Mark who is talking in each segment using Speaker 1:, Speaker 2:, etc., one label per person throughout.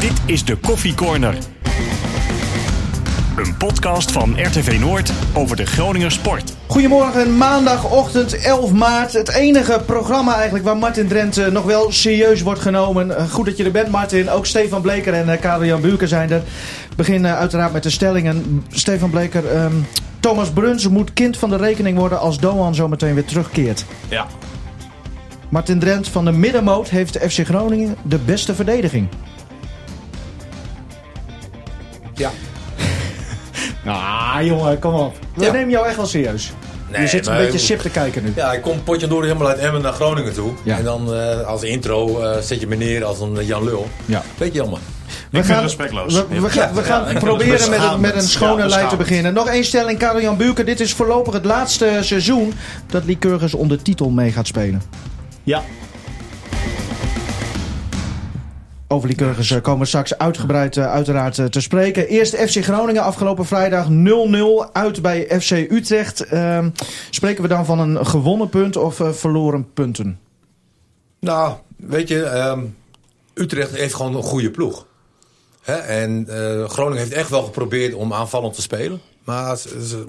Speaker 1: Dit is de Koffie Corner. Een podcast van RTV Noord over de Groninger sport.
Speaker 2: Goedemorgen, maandagochtend 11 maart. Het enige programma eigenlijk waar Martin Drent eh, nog wel serieus wordt genomen. Eh, Goed dat je er bent, Martin. Ook Stefan Bleker en eh, Karel Jan Buurken zijn er. We beginnen uiteraard met de stellingen. Stefan Bleker, ehm, Thomas Bruns moet kind van de rekening worden als Doan zometeen weer terugkeert.
Speaker 3: Ja.
Speaker 2: Martin Drent van de middenmoot heeft de FC Groningen de beste verdediging.
Speaker 3: Ja.
Speaker 2: Ah, jongen, kom op. We
Speaker 3: Ja.
Speaker 2: nemen jou echt wel serieus. je zit een
Speaker 3: maar-
Speaker 2: beetje sip te kijken nu.
Speaker 3: Ja, ik kom potje door helemaal uit Emmen naar Groningen toe.
Speaker 2: Ja.
Speaker 3: En dan eh, als intro eh, zet je me neer als een eh, Jan Lul.
Speaker 2: Ja.
Speaker 3: Beetje jammer.
Speaker 2: We
Speaker 4: vind het respectloos.
Speaker 2: We, we
Speaker 4: Ja.
Speaker 2: gaan, we gaan
Speaker 3: Ja, ik vind
Speaker 2: proberen
Speaker 3: het
Speaker 2: met een, met een schone
Speaker 4: Ja,
Speaker 2: lijn te
Speaker 4: beschamend.
Speaker 2: beginnen. Nog één stelling, Karel-Jan Buurken. Dit is voorlopig het laatste seizoen dat Lycurgus om de titel mee gaat spelen.
Speaker 4: Ja.
Speaker 2: Over Lycurgus eh, komen we straks uitgebreid eh, uiteraard eh, te spreken. Eerst FC Groningen afgelopen vrijdag 0-0 uit bij FC Utrecht. Ehm, spreken we dan van een gewonnen punt of eh, verloren punten?
Speaker 3: Nou, weet je, ehm, Utrecht heeft gewoon een goede ploeg. Hè? En eh, Groningen heeft echt wel geprobeerd om aanvallend te spelen. Maar ze, ze,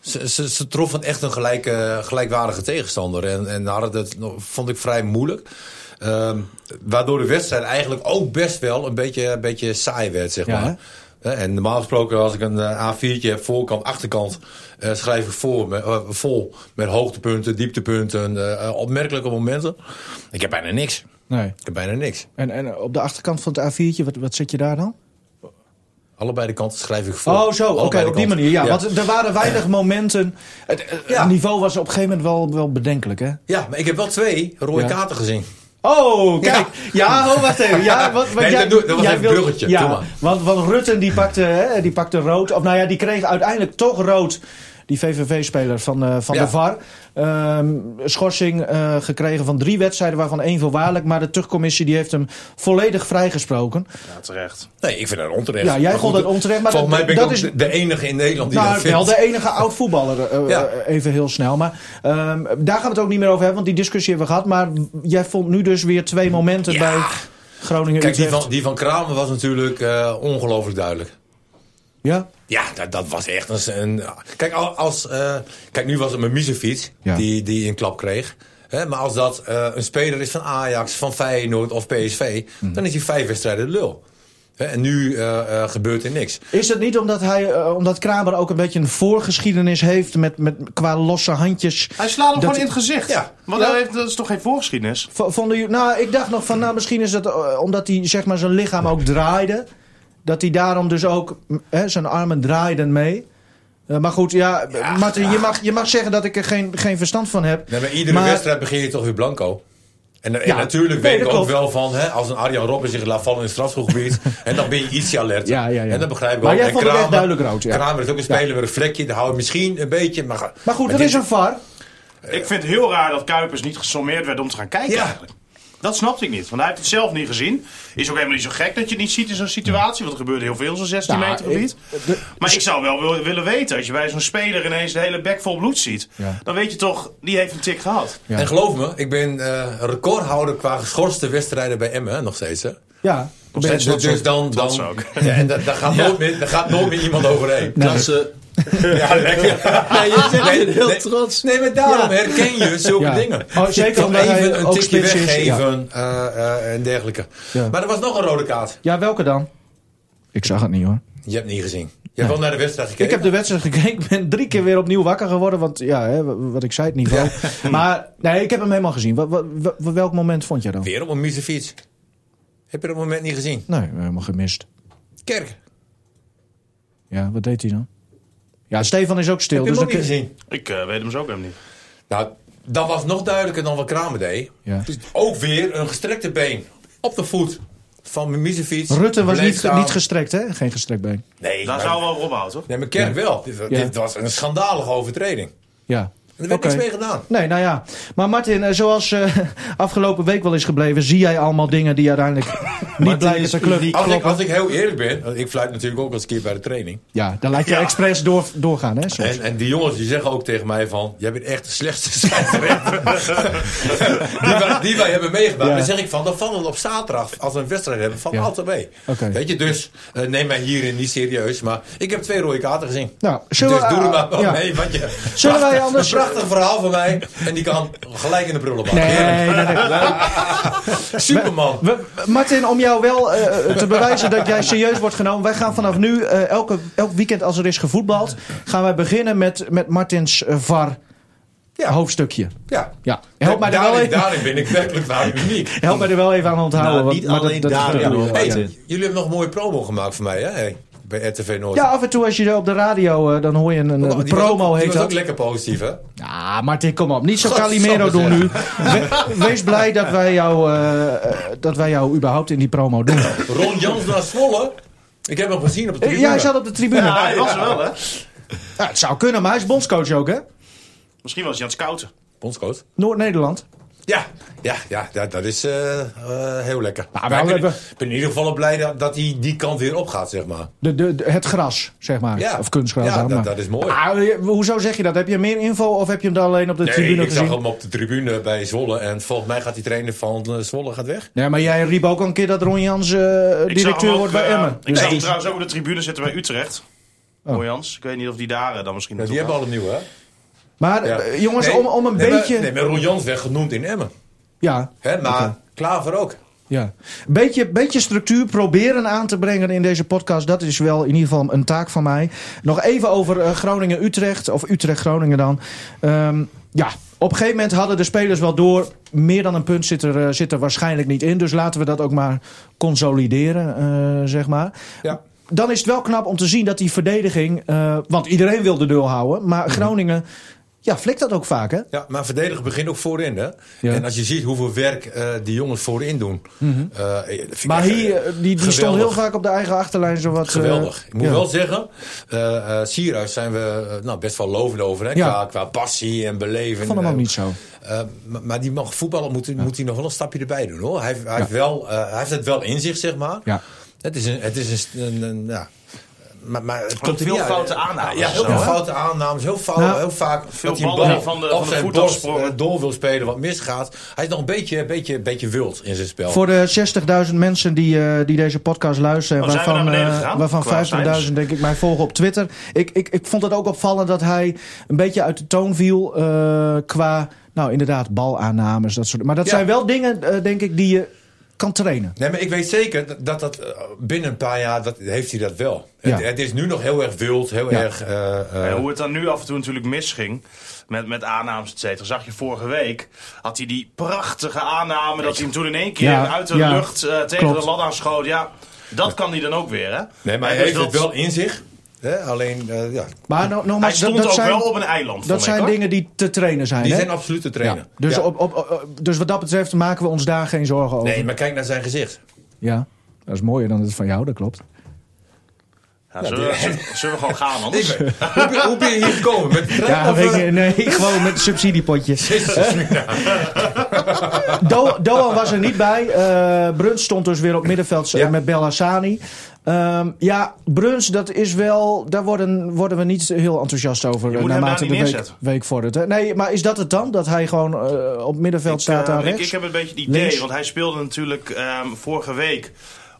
Speaker 3: ze, ze- ze troffen echt een gelijke, gelijkwaardige tegenstander. En, en hadden dat nog- vond ik vrij moeilijk. Ehm, waardoor de wedstrijd eigenlijk ook best wel een beetje, een beetje saai werd, zeg
Speaker 2: Ja,
Speaker 3: maar. Hè, En normaal gesproken, als ik een eh, A4'tje heb, voorkant, achterkant, eh, schrijf ik voor, met- eh, vol met hoogtepunten, dieptepunten, eh, eh, opmerkelijke momenten. Ik heb bijna niks.
Speaker 2: Nee.
Speaker 3: Ik heb bijna niks.
Speaker 2: En, en op de achterkant van het A4'tje, wat, wat zit je daar dan?
Speaker 3: Allebei de kanten schrijf ik voor.
Speaker 2: Oh, zo. Oké,
Speaker 3: Allebei de
Speaker 2: op die
Speaker 3: kanten.
Speaker 2: manier. Ja, Want er waren weinig momenten. Het, eh,
Speaker 3: Ja.
Speaker 2: het niveau was op een gegeven moment wel, wel bedenkelijk, hè?
Speaker 3: Ja, maar ik heb wel twee rode
Speaker 2: Ja.
Speaker 3: kaarten gezien.
Speaker 2: Oh, kijk. Ja, oh, wacht even. Ja, wat, wat
Speaker 3: Nee,
Speaker 2: jij,
Speaker 3: dat doe- dat was
Speaker 2: jij
Speaker 3: even
Speaker 2: wil-
Speaker 3: bruggetje. Doe
Speaker 2: Ja,
Speaker 3: maar.
Speaker 2: want, want Rutten die pakte, hè, die pakte rood. Of nou ja, die kreeg uiteindelijk toch rood. Die VVV-speler van, eh, van
Speaker 3: Ja.
Speaker 2: de VAR. Ehm, schorsing eh, gekregen van drie wedstrijden, waarvan één voorwaardelijk. Maar de terugcommissie die heeft hem volledig vrijgesproken.
Speaker 4: Ja, terecht.
Speaker 3: Nee, ik vind dat onterecht.
Speaker 2: Ja, jij
Speaker 3: Maar
Speaker 2: vond
Speaker 3: goed,
Speaker 2: dat onterecht. Maar
Speaker 3: Volgens mij ben ik
Speaker 2: dat
Speaker 3: ook
Speaker 2: is
Speaker 3: de- de enige in Nederland die
Speaker 2: nou,
Speaker 3: dat vindt.
Speaker 2: wel de enige oud voetballer, eh,
Speaker 3: Ja.
Speaker 2: eh, even heel snel. Maar ehm, daar gaan we het ook niet meer over hebben, want die discussie hebben we gehad. Maar jij vond nu dus weer twee momenten
Speaker 3: Ja.
Speaker 2: bij Groningen.
Speaker 3: Kijk, die
Speaker 2: Utrecht.
Speaker 3: van, die van Kramer was natuurlijk eh, ongelooflijk duidelijk.
Speaker 2: Ja?
Speaker 3: Ja, dat, dat was echt een... een- kijk, al- als, eh, kijk, nu was het mijn Misefiets
Speaker 2: Ja.
Speaker 3: die, die een klap kreeg. Hè, maar als dat eh, een speler is van Ajax, van Feyenoord of PSV... dan is hij vijf wedstrijden de lul. Hè, en nu eh, eh, gebeurt er niks.
Speaker 2: Is het niet omdat, hij, eh, omdat Kramer ook een beetje een voorgeschiedenis heeft met, met, qua losse handjes?
Speaker 4: Hij slaat hem
Speaker 2: Dat-
Speaker 4: gewoon in het gezicht.
Speaker 3: Ja.
Speaker 4: Want
Speaker 2: Ja.
Speaker 4: dat, heeft, dat is toch geen voorgeschiedenis?
Speaker 2: V- Vonden jullie, nou, ik dacht nog van, nou, misschien is dat eh, omdat hij zeg maar, zijn lichaam ook draaide. Dat hij daarom dus ook m, hè, zijn armen draaiden mee. Eh, maar goed, ja, Martin, Je, mag, je mag zeggen dat ik er geen, geen verstand van heb.
Speaker 3: Nee, maar iedere
Speaker 2: Maar-
Speaker 3: wedstrijd begin je toch weer blanco. En, en
Speaker 2: Ja,
Speaker 3: natuurlijk
Speaker 2: nee,
Speaker 3: weet ik
Speaker 2: dat
Speaker 3: ook
Speaker 2: klopt.
Speaker 3: wel van, hè, als een Arjan Robben zich laat vallen in het strafschopgebied, en dan ben je ietsje alert.
Speaker 2: Ja, ja, ja.
Speaker 3: En dat begrijp ik
Speaker 2: Maar
Speaker 3: ook.
Speaker 2: jij
Speaker 3: En
Speaker 2: vond het echt duidelijk rood, ja.
Speaker 3: Kramer is ook een speler met een vlekje, daar hou je misschien een beetje. Maar, ga-
Speaker 2: Maar goed, er
Speaker 3: dit-
Speaker 2: is een VAR.
Speaker 4: Ik vind het heel raar dat Kuipers niet gesommeerd werd om te gaan kijken
Speaker 3: Ja.
Speaker 4: eigenlijk. Dat snapte ik niet, want hij heeft het zelf niet gezien. Is ook helemaal niet zo gek dat je het niet ziet in zo'n situatie, want er gebeurde heel veel in zo'n 16
Speaker 2: Nou,
Speaker 4: meter gebied.
Speaker 2: ik- de-
Speaker 4: maar ik zou wel wil- willen weten, als je bij zo'n speler ineens de hele bek vol bloed ziet,
Speaker 2: Ja.
Speaker 4: dan weet je toch, die heeft een tik gehad.
Speaker 2: Ja.
Speaker 3: En geloof me, ik ben eh, recordhouder qua geschorste wedstrijden bij Emmen, hè, nog steeds. Hè.
Speaker 2: Ja,
Speaker 4: Nog steeds
Speaker 3: Dus,
Speaker 4: trots
Speaker 3: dus dan,
Speaker 4: trots
Speaker 3: dan,
Speaker 4: ook.
Speaker 3: ja, en da- daar gaat, nooit meer- daar gaat nooit meer iemand overheen.
Speaker 5: Klasse.
Speaker 3: Ja, lekker.
Speaker 5: Ja, je bent
Speaker 3: Nee,
Speaker 5: heel
Speaker 3: nee.
Speaker 5: trots.
Speaker 3: Nee, maar daarom herken je zulke
Speaker 2: Ja.
Speaker 3: dingen.
Speaker 2: Oh, zeker
Speaker 3: Van
Speaker 2: omdat hij
Speaker 3: even een
Speaker 2: ook
Speaker 3: tikje
Speaker 2: spits is,
Speaker 3: weggeven eh, eh, en dergelijke.
Speaker 2: Ja.
Speaker 3: Maar er was nog een rode kaart.
Speaker 2: Ja, welke dan? Ik zag het niet hoor.
Speaker 3: Je hebt niet gezien. Je hebt wel naar de wedstrijd gekeken.
Speaker 2: Ik heb de wedstrijd gekeken. Ik ben drie keer weer opnieuw wakker geworden. Want ja, hè, w- wat ik zei, het niveau. Maar nee, ik heb hem helemaal gezien. Wat, wat, wat- welk moment vond jij dan?
Speaker 3: Weer op een mieze fiets. Heb je dat moment niet gezien?
Speaker 2: Nee, helemaal gemist.
Speaker 3: Kerk.
Speaker 2: Ja, wat deed hij dan? Ja, Stefan is ook stil. dus
Speaker 3: Heb je hem
Speaker 2: dan
Speaker 3: ook niet
Speaker 2: kun-
Speaker 3: gezien?
Speaker 4: Ik eh, weet hem zo ook helemaal niet.
Speaker 3: Nou, dat was nog duidelijker dan wat Kramer deed.
Speaker 2: Ja.
Speaker 3: Dus ook weer een gestrekte been op de voet van mijn mieze fiets.
Speaker 2: Rutte was
Speaker 3: Bleef
Speaker 2: niet,
Speaker 3: staan.
Speaker 2: niet gestrekt, hè? Geen gestrekt been.
Speaker 3: Nee,
Speaker 4: Daar
Speaker 3: maar,
Speaker 4: zou we wel op houden, toch?
Speaker 3: nee, maar Kerk wel. Dit, dit was een schandalige overtreding.
Speaker 2: Ja.
Speaker 3: En er werd
Speaker 2: Oké.
Speaker 3: niks mee gedaan.
Speaker 2: Nee, nou ja. Maar Martin, eh, zoals eh, afgelopen week wel is gebleven, zie jij allemaal dingen die uiteindelijk niet blijken zijn club.
Speaker 3: Als ik, als ik heel eerlijk ben, ik fluit natuurlijk ook als keer bij de training.
Speaker 2: Ja, dan laat je expres door, doorgaan, hè? Soms.
Speaker 3: En, en die jongens die zeggen ook tegen mij van... Jij bent echt de slechtste scheidsrechter die, wij, die wij hebben meegemaakt.
Speaker 2: Ja.
Speaker 3: Dan zeg ik van, dan vallen we op zaterdag als we een wedstrijd hebben van
Speaker 2: Ja.
Speaker 3: altijd mee.
Speaker 2: Oké.
Speaker 3: Weet je, dus eh, neem mij hierin niet serieus. Maar ik heb twee rode kaarten gezien.
Speaker 2: Nou,
Speaker 3: dus
Speaker 2: zullen
Speaker 3: doe
Speaker 2: we-
Speaker 3: er maar wel
Speaker 2: ja.
Speaker 3: mee. Want je,
Speaker 2: Zullen wij
Speaker 3: prachtig-
Speaker 2: anders-
Speaker 3: Een prachtig verhaal van mij. En die kan gelijk in de prullenbak.
Speaker 2: Nee,
Speaker 3: Heerlijk.
Speaker 2: nee, nee.
Speaker 3: Superman.
Speaker 2: We- Martin, om jou wel eh, te bewijzen dat jij serieus wordt genomen. Wij gaan vanaf nu, eh, elke, elk weekend als er is gevoetbald, gaan wij beginnen met, met Martins eh, VAR
Speaker 3: Ja.
Speaker 2: hoofdstukje.
Speaker 3: Ja.
Speaker 2: Ja, help mij er wel
Speaker 3: daarin,
Speaker 2: even,
Speaker 3: daarin ben ik werkelijk waar uniek.
Speaker 2: help mij er wel even aan onthouden.
Speaker 5: Nou,
Speaker 2: want-
Speaker 5: niet
Speaker 2: maar dat-
Speaker 5: alleen
Speaker 2: dat-
Speaker 5: daar,
Speaker 2: dat-
Speaker 5: ja.
Speaker 2: dat-
Speaker 3: Hey,
Speaker 5: Martin.
Speaker 3: jullie hebben nog een mooie promo gemaakt voor mij, hè? Hey, bij RTV Noord. Oh,
Speaker 2: Ja, af en toe als je er op de radio, eh, dan hoor je een, een
Speaker 3: Die was
Speaker 2: promo,
Speaker 3: ook- die
Speaker 2: heet
Speaker 3: was
Speaker 2: dat.
Speaker 3: ook lekker positief, hè?
Speaker 2: Ah, Martin, kom op. Niet zo
Speaker 3: Godsamme
Speaker 2: Calimero doen
Speaker 3: zeg.
Speaker 2: nu. We- wees blij dat wij, jou, eh, eh, dat wij jou überhaupt in die promo doen.
Speaker 3: Ron Jans naar Zwolle. Ik heb hem gezien op de
Speaker 2: Eh,
Speaker 3: tribune.
Speaker 2: Jij zat op de tribune.
Speaker 4: Ja, hij was er wel, hè?
Speaker 2: Ja, het zou kunnen, maar hij is bondscoach ook, hè?
Speaker 4: Misschien was hij aan het scouten.
Speaker 3: Bondscoach.
Speaker 2: Noord-Nederland.
Speaker 3: Ja, ja, ja dat, dat is eh, eh, heel lekker.
Speaker 2: Nou,
Speaker 3: Maar ik
Speaker 2: wel
Speaker 3: ben,
Speaker 2: hebben-
Speaker 3: ik ben in ieder geval blij dat, dat hij die kant weer opgaat, zeg maar.
Speaker 2: De, de, de- het gras, zeg maar.
Speaker 3: Ja.
Speaker 2: Of kunstgras.
Speaker 3: Ja,
Speaker 2: dan,
Speaker 3: dat-
Speaker 2: maar.
Speaker 3: dat is mooi.
Speaker 2: Ah, je- hoezo zeg je dat? Heb je meer info of heb je hem dan alleen op de
Speaker 3: Nee,
Speaker 2: tribune
Speaker 3: ik zag
Speaker 2: gezien?
Speaker 3: hem op de tribune bij Zwolle. En volgens mij gaat die trainer van eh, Zwolle gaat weg.
Speaker 2: Nee, maar jij riep ook al een keer dat Ron Jans eh,
Speaker 4: Ik zag
Speaker 2: directeur
Speaker 4: hem ook,
Speaker 2: wordt bij
Speaker 4: eh,
Speaker 2: Emmen. Oh.
Speaker 4: Ik
Speaker 2: Dus
Speaker 4: zag
Speaker 2: dat
Speaker 4: hem
Speaker 2: is-
Speaker 4: trouwens ook op de tribune zitten bij Utrecht. Mooi Jans. Ik weet niet of die daar eh, dan misschien
Speaker 3: Ja, die
Speaker 4: naartoe
Speaker 3: hebben al een nieuwe, hè?
Speaker 2: Maar
Speaker 3: Ja.
Speaker 2: eh, jongens,
Speaker 3: Nee,
Speaker 2: om, om een
Speaker 3: nee, maar-
Speaker 2: beetje...
Speaker 3: nee, maar Ron Jans werd genoemd in Emmen.
Speaker 2: Ja,
Speaker 3: Hè, maar Klaver ook.
Speaker 2: ja. Beetje, beetje structuur proberen aan te brengen in deze podcast. Dat is wel in ieder geval een taak van mij. Nog even over eh, Groningen-Utrecht. Of Utrecht-Groningen dan. Ehm, ja, op een gegeven moment hadden de spelers wel door. Meer dan een punt zit er, eh, zit er waarschijnlijk niet in. Dus laten we dat ook maar consolideren, eh, zeg maar.
Speaker 3: Ja.
Speaker 2: Dan is het wel knap om te zien dat die verdediging... eh, want iedereen wil de deur houden. Maar
Speaker 3: Mhm.
Speaker 2: Groningen, ja, flikt dat ook vaak, hè?
Speaker 3: Ja, maar verdedigen begint ook voorin, hè?
Speaker 2: Ja. Mhm.
Speaker 3: En als je ziet hoeveel werk eh, die jongens voorin doen. eh, dat vind ik
Speaker 2: Maar
Speaker 3: echt,
Speaker 2: hier, eh,
Speaker 3: eh,
Speaker 2: die, die stond
Speaker 3: geweldig.
Speaker 2: heel vaak op de eigen achterlijn. Zowat, eh,
Speaker 3: Geweldig. Ik moet
Speaker 2: ja.
Speaker 3: wel zeggen, eh eh, Sierhuis zijn we eh, nou, best wel lovend over. Hè?
Speaker 2: Ja.
Speaker 3: Qua, qua passie en beleving.
Speaker 2: Ik vond hem ook
Speaker 3: Eh,
Speaker 2: niet zo.
Speaker 3: eh, maar, maar die mag voetballen, moet, moet hij nog wel een stapje erbij doen hoor. Hij, heeft- hij, heeft, wel, eh, hij heeft het wel in zich, zeg maar.
Speaker 2: Ja.
Speaker 3: Het is een. Het is een, een- een- ja. Maar, maar het komt er
Speaker 4: veel
Speaker 3: niet uit.
Speaker 4: foute aannames
Speaker 3: Ja,
Speaker 4: of
Speaker 3: heel
Speaker 4: zo,
Speaker 3: veel
Speaker 4: hè?
Speaker 3: foute aannames. Heel, fout,
Speaker 2: Nou,
Speaker 3: heel vaak dat hij een
Speaker 4: ballen
Speaker 3: bal
Speaker 4: die van de-
Speaker 3: op
Speaker 4: van de
Speaker 3: zijn
Speaker 4: voet
Speaker 3: borst
Speaker 4: afsprongen.
Speaker 3: eh, door wil spelen wat misgaat. Hij is nog een beetje, beetje, beetje wild in zijn
Speaker 4: Oh.
Speaker 3: spel.
Speaker 2: Voor de 60.000 mensen die, eh, die deze podcast luisteren.
Speaker 4: Oh, zijn we
Speaker 2: waarvan
Speaker 4: naar beneden
Speaker 2: eh,
Speaker 4: gegaan?
Speaker 2: waarvan
Speaker 4: Qua
Speaker 2: 50.000 denk ik mij volgen op Twitter. Ik, ik, ik vond het ook opvallend dat hij een beetje uit de toon viel. eh, qua, nou inderdaad, balaannames. Dat soort, maar dat
Speaker 3: Ja.
Speaker 2: zijn wel dingen, eh, denk ik, die je kan trainen.
Speaker 3: Nee, maar ik weet zeker dat- dat dat eh, binnen een paar jaar dat, heeft hij dat wel.
Speaker 2: Ja.
Speaker 3: Het, het is nu nog heel erg wild, heel
Speaker 2: Ja.
Speaker 3: erg. eh, eh,
Speaker 4: Ja, hoe het dan nu af en toe natuurlijk misging. Met, met aannames, et cetera. Zag je vorige week. Had hij die prachtige aanname. Dat hij hem toen in één keer
Speaker 2: Ja,
Speaker 4: uit de
Speaker 2: ja,
Speaker 4: lucht eh, tegen
Speaker 2: klopt.
Speaker 4: de lat aanschoot. Ja, dat kan hij dan ook weer. Hè?
Speaker 3: nee, maar hij
Speaker 4: Dus
Speaker 3: heeft
Speaker 4: dat-
Speaker 3: het wel in zich. Hè? Alleen, eh, ja,
Speaker 2: Maar no-
Speaker 4: Hij
Speaker 2: nogmaals, dat,
Speaker 4: stond
Speaker 2: dat
Speaker 4: ook
Speaker 2: zijn,
Speaker 4: wel op een eiland.
Speaker 2: dat zijn dingen die te trainen zijn.
Speaker 3: die
Speaker 2: hè?
Speaker 3: zijn absoluut te trainen.
Speaker 2: Ja. Dus,
Speaker 3: Ja.
Speaker 2: op, op, op- dus wat dat betreft maken we ons daar geen zorgen over.
Speaker 3: Nee, maar kijk naar zijn gezicht.
Speaker 2: Ja, dat is mooier dan het van jou, dat klopt.
Speaker 4: Ja, zullen, we, zullen- zullen we gewoon gaan
Speaker 3: Ik
Speaker 4: anders?
Speaker 3: ben- hoe, ben, hoe ben je hier gekomen? Met de trein
Speaker 2: Ja,
Speaker 3: of,
Speaker 2: weet
Speaker 3: eh,
Speaker 2: je, nee, gewoon met een subsidiepotje.
Speaker 3: Jezus,
Speaker 2: Do Doan was er niet bij. Eh, Bruns stond dus weer op middenveld eh,
Speaker 3: Ja.
Speaker 2: met Belhassani. Ehm, ja, Bruns, dat is wel, daar worden, worden we niet heel enthousiast over.
Speaker 4: hem
Speaker 2: eh, naarmate
Speaker 4: daar niet
Speaker 2: de week,
Speaker 4: neerzetten.
Speaker 2: week vordert. hè? Nee, maar is dat het dan? Dat hij gewoon eh, op middenveld staat
Speaker 4: Eh,
Speaker 2: daar
Speaker 4: ik,
Speaker 2: rechts?
Speaker 4: ik heb een beetje het idee,
Speaker 2: Links.
Speaker 4: want hij speelde natuurlijk ehm, vorige week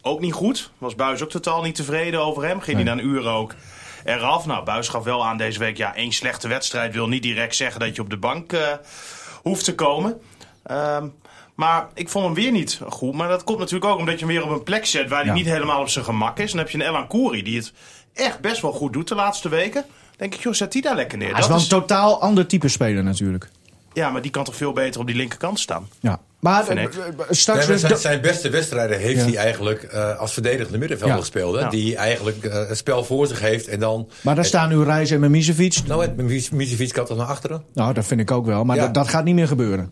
Speaker 4: ook niet goed. Was Buis ook totaal niet tevreden over hem. Ging hij na een uur ook eraf. Nou, Buis gaf wel aan deze week, ja, één slechte wedstrijd wil niet direct zeggen dat je op de bank eh, hoeft te komen. Ehm, maar ik vond hem weer niet goed. Maar dat komt natuurlijk ook omdat je hem weer op een plek zet waar hij
Speaker 2: Ja.
Speaker 4: niet helemaal op zijn gemak is. Dan heb je een Elan Kouri die het echt best wel goed doet de laatste weken. Denk ik, joh, zet die daar lekker neer.
Speaker 2: Hij is
Speaker 4: Dat
Speaker 2: wel een
Speaker 4: is-
Speaker 2: totaal ander type speler natuurlijk.
Speaker 4: ja, maar die kan toch veel beter op die linkerkant staan.
Speaker 2: Ja. Maar
Speaker 4: Vind
Speaker 2: eh,
Speaker 4: ik.
Speaker 2: eh, straks...
Speaker 3: Nee, maar zijn,
Speaker 2: dus-
Speaker 3: zijn beste wedstrijden heeft
Speaker 2: Ja.
Speaker 3: hij eigenlijk eh, als verdedigende middenvelder
Speaker 2: Ja.
Speaker 3: gespeeld. Hè?
Speaker 4: Ja.
Speaker 3: Die eigenlijk eh, het spel voor zich heeft en dan...
Speaker 2: maar
Speaker 4: Eh.
Speaker 2: daar staan nu Reis en Mimicevic.
Speaker 3: Nou, het Misevic kan toch naar achteren?
Speaker 2: Nou, dat vind ik ook wel. Maar
Speaker 3: Ja.
Speaker 2: dat, dat gaat niet meer gebeuren.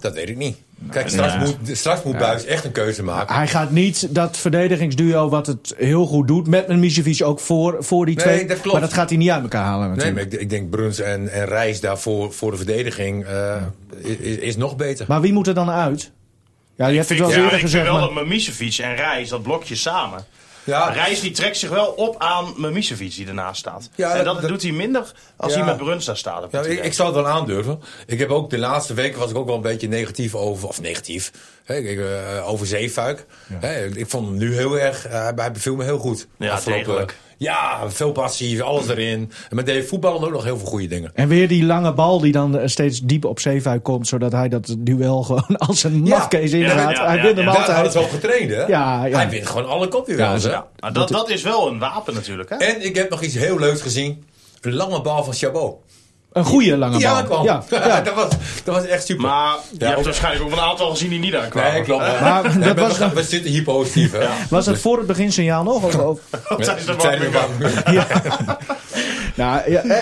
Speaker 3: Dat weet ik niet. Kijk, straks moet, straks moet Buis echt een keuze maken.
Speaker 2: Hij gaat niet dat verdedigingsduo wat het heel goed doet... met een Misevic ook voor, voor die
Speaker 3: Nee,
Speaker 2: twee.
Speaker 3: dat klopt.
Speaker 2: Maar dat gaat hij niet uit elkaar halen
Speaker 3: Nee,
Speaker 2: natuurlijk.
Speaker 3: maar ik, ik denk Bruns en, en Reis daarvoor voor de verdediging eh, is, is nog beter.
Speaker 2: maar wie moet er dan uit?
Speaker 3: Ja,
Speaker 2: Ja, je hebt het
Speaker 4: vind,
Speaker 2: wel
Speaker 4: ja,
Speaker 2: eens eerder
Speaker 4: ik vind
Speaker 2: gezegd,
Speaker 4: wel dat
Speaker 2: maar...
Speaker 4: Mimicevic en Reis, dat blokje samen.
Speaker 3: Ja,
Speaker 4: Reis die trekt zich wel op aan Mimicevic die ernaast staat.
Speaker 3: Ja,
Speaker 4: en dat,
Speaker 3: dat-
Speaker 4: doet hij minder als
Speaker 3: Ja.
Speaker 4: hij met Brunsta staat. heb
Speaker 3: Ja,
Speaker 4: het
Speaker 3: ik,
Speaker 4: idee.
Speaker 3: ik zou het wel aandurven. Ik heb ook de laatste weken was ik ook wel een beetje negatief over, of negatief, hè, ik, eh, over Zeefuik. Hè, ik, ik vond hem nu heel erg, eh, hij- hij beviel me heel goed.
Speaker 4: Ja, degelijk.
Speaker 3: Ja, veel passie, alles erin. En met deze voetballen ook nog heel veel goede dingen.
Speaker 2: En weer die lange bal die dan eh, steeds diep op Zeefuik komt... zodat hij dat duel gewoon als een
Speaker 3: Ja.
Speaker 2: mafkees inderdaad...
Speaker 4: ja,
Speaker 2: hij
Speaker 4: ja,
Speaker 2: wint
Speaker 4: ja.
Speaker 2: hem
Speaker 3: Daar hadden
Speaker 2: altijd.
Speaker 3: ze wel getraind, hè?
Speaker 2: Ja, ja.
Speaker 3: Hij wint gewoon alle kopduels,
Speaker 2: Ja,
Speaker 3: hè?
Speaker 2: zo.
Speaker 4: Maar dat, dat is wel een wapen natuurlijk. Hè?
Speaker 3: En ik heb nog iets heel leuks gezien. Een lange bal van Chabot.
Speaker 2: Een goede lange
Speaker 3: Die
Speaker 2: bal.
Speaker 3: aankwam.
Speaker 2: Ja, ja.
Speaker 3: dat, was, dat was echt super.
Speaker 4: Maar je hebt dus-
Speaker 3: ook-
Speaker 4: waarschijnlijk ook een aantal gezien die niet aankwamen.
Speaker 3: Nee, klopt.
Speaker 2: Maar
Speaker 3: Nee,
Speaker 2: dat
Speaker 3: maar
Speaker 2: was
Speaker 3: we, gaan,
Speaker 2: dan-
Speaker 3: we zitten hier positief, hè?
Speaker 2: Was dat voor het beginsignaal nog? Of, of-
Speaker 4: Dat zijn ze
Speaker 3: Ja,
Speaker 4: er wel
Speaker 3: zijn
Speaker 4: weer
Speaker 3: we
Speaker 4: bij.
Speaker 3: bang.
Speaker 2: Nou, ja, eh,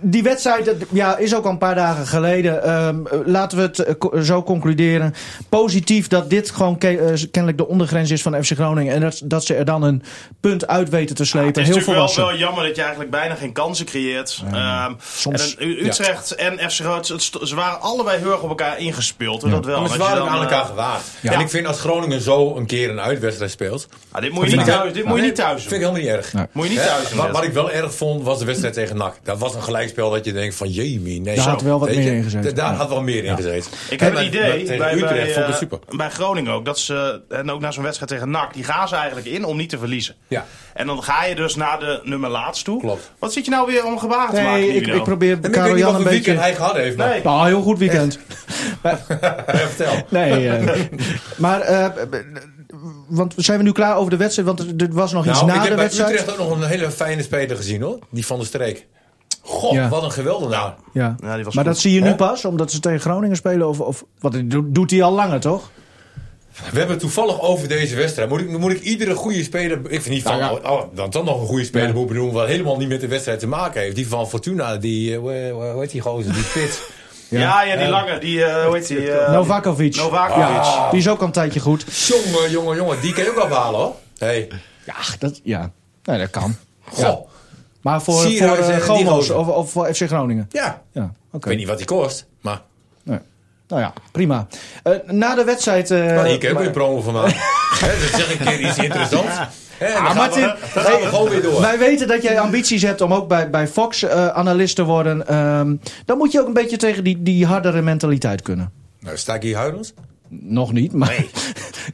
Speaker 2: die wedstrijd dat, ja, is ook al een paar dagen geleden. Ehm, eh, laten we het eh, co- eh, zo concluderen. Positief dat dit gewoon ke- eh, kennelijk de ondergrens is van FC Groningen. En dat, dat ze er dan een punt uit weten te
Speaker 4: Ah, Het
Speaker 2: slepen.
Speaker 4: is
Speaker 2: Heel
Speaker 4: natuurlijk wel,
Speaker 2: volwassen.
Speaker 4: wel jammer dat je eigenlijk bijna geen kansen creëert. Ehm,
Speaker 2: soms-
Speaker 4: en een- U- Utrecht en FC Rood, het st- ze waren allebei heel erg op elkaar ingespeeld. En dat wel.
Speaker 3: Maar
Speaker 4: Als
Speaker 3: ze
Speaker 4: je
Speaker 3: waren ook
Speaker 4: dan,
Speaker 3: aan elkaar
Speaker 4: eh,
Speaker 3: gewaagd. En ik vind als Groningen zo een keer een uitwedstrijd speelt.
Speaker 4: ah, dit moet je niet
Speaker 3: vind ik-
Speaker 4: thuis, dit moet je niet thuis
Speaker 3: Vind ik
Speaker 4: doen.
Speaker 3: helemaal niet erg.
Speaker 4: Moet je niet thuis
Speaker 3: Hè,
Speaker 4: doen.
Speaker 3: wat, wat ik wel erg vond was de wedstrijd tegen NAC. Dat was een gelijkspel dat je denkt van jemie. Nee,
Speaker 2: Daar
Speaker 3: zo,
Speaker 2: had wel wat
Speaker 3: weet
Speaker 2: meer
Speaker 3: je.
Speaker 2: in gezeten.
Speaker 3: Daar
Speaker 2: Ja.
Speaker 3: had wel meer in gezeten.
Speaker 4: Ik
Speaker 3: Hè,
Speaker 4: heb
Speaker 3: maar-
Speaker 4: het idee
Speaker 3: maar
Speaker 4: bij,
Speaker 3: tegen
Speaker 4: bij,
Speaker 3: Utrecht vond ik
Speaker 4: eh,
Speaker 3: het super.
Speaker 4: bij Groningen ook. Dat ze, en ook na zo'n wedstrijd tegen NAC. Die gaan ze eigenlijk in om niet te verliezen.
Speaker 3: Ja.
Speaker 4: En dan ga je dus naar de nummer laatst toe.
Speaker 3: Klopt.
Speaker 4: Wat zit je nou weer om gebaar te maken?
Speaker 2: Nee, ik,
Speaker 4: Nivino?
Speaker 2: ik probeer
Speaker 3: En ik weet
Speaker 2: Karel
Speaker 3: niet
Speaker 2: Jan
Speaker 3: wat
Speaker 2: een
Speaker 3: voor weekend hij
Speaker 2: beetje...
Speaker 3: gehad heeft. maar-
Speaker 4: Nee.
Speaker 2: Nou, heel goed weekend.
Speaker 3: Ja, vertel.
Speaker 2: Nee, eh, maar eh, want zijn we nu klaar over de wedstrijd? Want er- er was nog iets
Speaker 3: Nou, ik
Speaker 2: na
Speaker 3: heb
Speaker 2: de
Speaker 3: bij
Speaker 2: wedstrijd.
Speaker 3: Utrecht ook nog een hele fijne speler gezien hoor. Die van de streek. God,
Speaker 2: Ja.
Speaker 3: wat een Nou, geweldenaar.
Speaker 2: Ja.
Speaker 4: Ja, die was
Speaker 2: maar
Speaker 4: goed.
Speaker 2: dat zie je nu
Speaker 3: Hè?
Speaker 2: pas, omdat ze tegen Groningen spelen? Of, of, want dat doet- doet hij al langer, toch?
Speaker 3: We hebben het toevallig over deze wedstrijd. Moet ik, moet ik iedere goede speler. Ik vind niet van.
Speaker 2: Ja, ja.
Speaker 3: Oh, oh, dan, dan nog een goede speler moet benoemen. Wat helemaal niet met de wedstrijd te maken heeft. Die van Fortuna. Die. eh, hoe, hoe- hoe heet die gozer? Die spits.
Speaker 4: Ja, ja, die lange. Die, eh, hoe heet die? eh,
Speaker 2: Novakovic.
Speaker 4: Novakovic.
Speaker 2: Ja, die is ook al een tijdje goed.
Speaker 3: jongen, jongen, jongen. Die kan je ook afhalen hoor. Hey.
Speaker 2: Ja, dat, ja. Nee, dat kan.
Speaker 3: Goh.
Speaker 2: Maar voor, voor
Speaker 3: Sierhuis en
Speaker 2: eh,
Speaker 3: nou die
Speaker 2: Gomo's
Speaker 3: gozer.
Speaker 2: of, of voor FC Groningen?
Speaker 3: Ja.
Speaker 2: Ja, oké.
Speaker 3: Ik weet niet wat die kost. Maar.
Speaker 2: Nee. Nou ja, prima. Eh, na de wedstrijd... eh,
Speaker 3: maar hier kan je ook
Speaker 2: maar-
Speaker 3: weer promo van maken. Hè, dus zeg een keer iets interessants. Hè, en dan gaan
Speaker 2: Martin,
Speaker 3: we, dan gaan we gewoon weer door.
Speaker 2: Wij weten dat jij ambities hebt om ook bij, bij Fox eh, analist te worden. Ehm, dan moet je ook een beetje tegen die, die hardere mentaliteit kunnen.
Speaker 3: Nou, sta ik hier huilend?
Speaker 2: Nog niet, maar...
Speaker 3: Nee.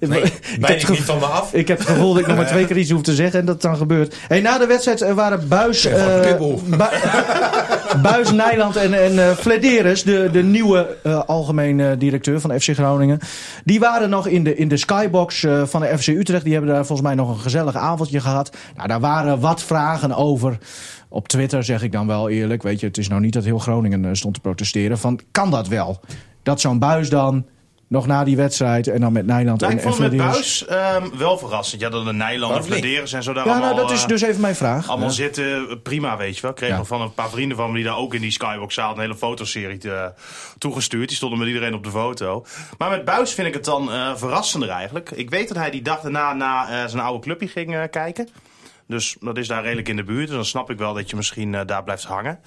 Speaker 2: Ik
Speaker 3: Nee,
Speaker 2: heb
Speaker 3: ben
Speaker 2: het
Speaker 3: ik niet
Speaker 2: gevoel-
Speaker 3: van me af.
Speaker 2: Ik heb het gevoel dat ik nog maar twee keer iets hoef te zeggen en dat het dan gebeurt. Hey, na de wedstrijd eh, waren Buis,
Speaker 3: ben gewoon
Speaker 2: eh,
Speaker 3: pibbel.
Speaker 2: Bu- Buis Nijland en, en eh, Flederis, de, de nieuwe eh, algemeen eh, directeur van FC Groningen. Die waren nog in de, in de skybox eh, van de FC Utrecht. Die hebben daar volgens mij nog een gezellig avondje gehad. Nou, daar waren wat vragen over. Op Twitter zeg ik dan wel eerlijk. Weet je, het is nou niet dat heel Groningen eh, stond te protesteren. Van, kan dat wel? Dat zo'n Buis dan... Nog na die wedstrijd en dan met Nijland
Speaker 4: Nou,
Speaker 2: en
Speaker 4: ik vond het met
Speaker 2: Flederis.
Speaker 4: Buis ehm, wel verrassend. Ja, dat de Nijlanden,
Speaker 3: Waarom niet?
Speaker 4: Vladeres en zo daar
Speaker 2: Ja,
Speaker 4: allemaal,
Speaker 2: nou, dat is
Speaker 4: eh,
Speaker 2: dus even mijn vraag.
Speaker 4: allemaal zitten. Prima, weet je wel. Ik kreeg
Speaker 2: Ja.
Speaker 4: nog van een paar vrienden van me die daar ook in die Skybox-zaal een hele fotoserie te- toegestuurd. Die stonden met iedereen op de foto. Maar met Buis vind ik het dan eh, verrassender eigenlijk. Ik weet dat hij die dag daarna naar eh, zijn oude clubje ging eh, kijken. Dus dat is daar redelijk in de buurt. Dus dan snap ik wel dat je misschien eh, daar blijft hangen.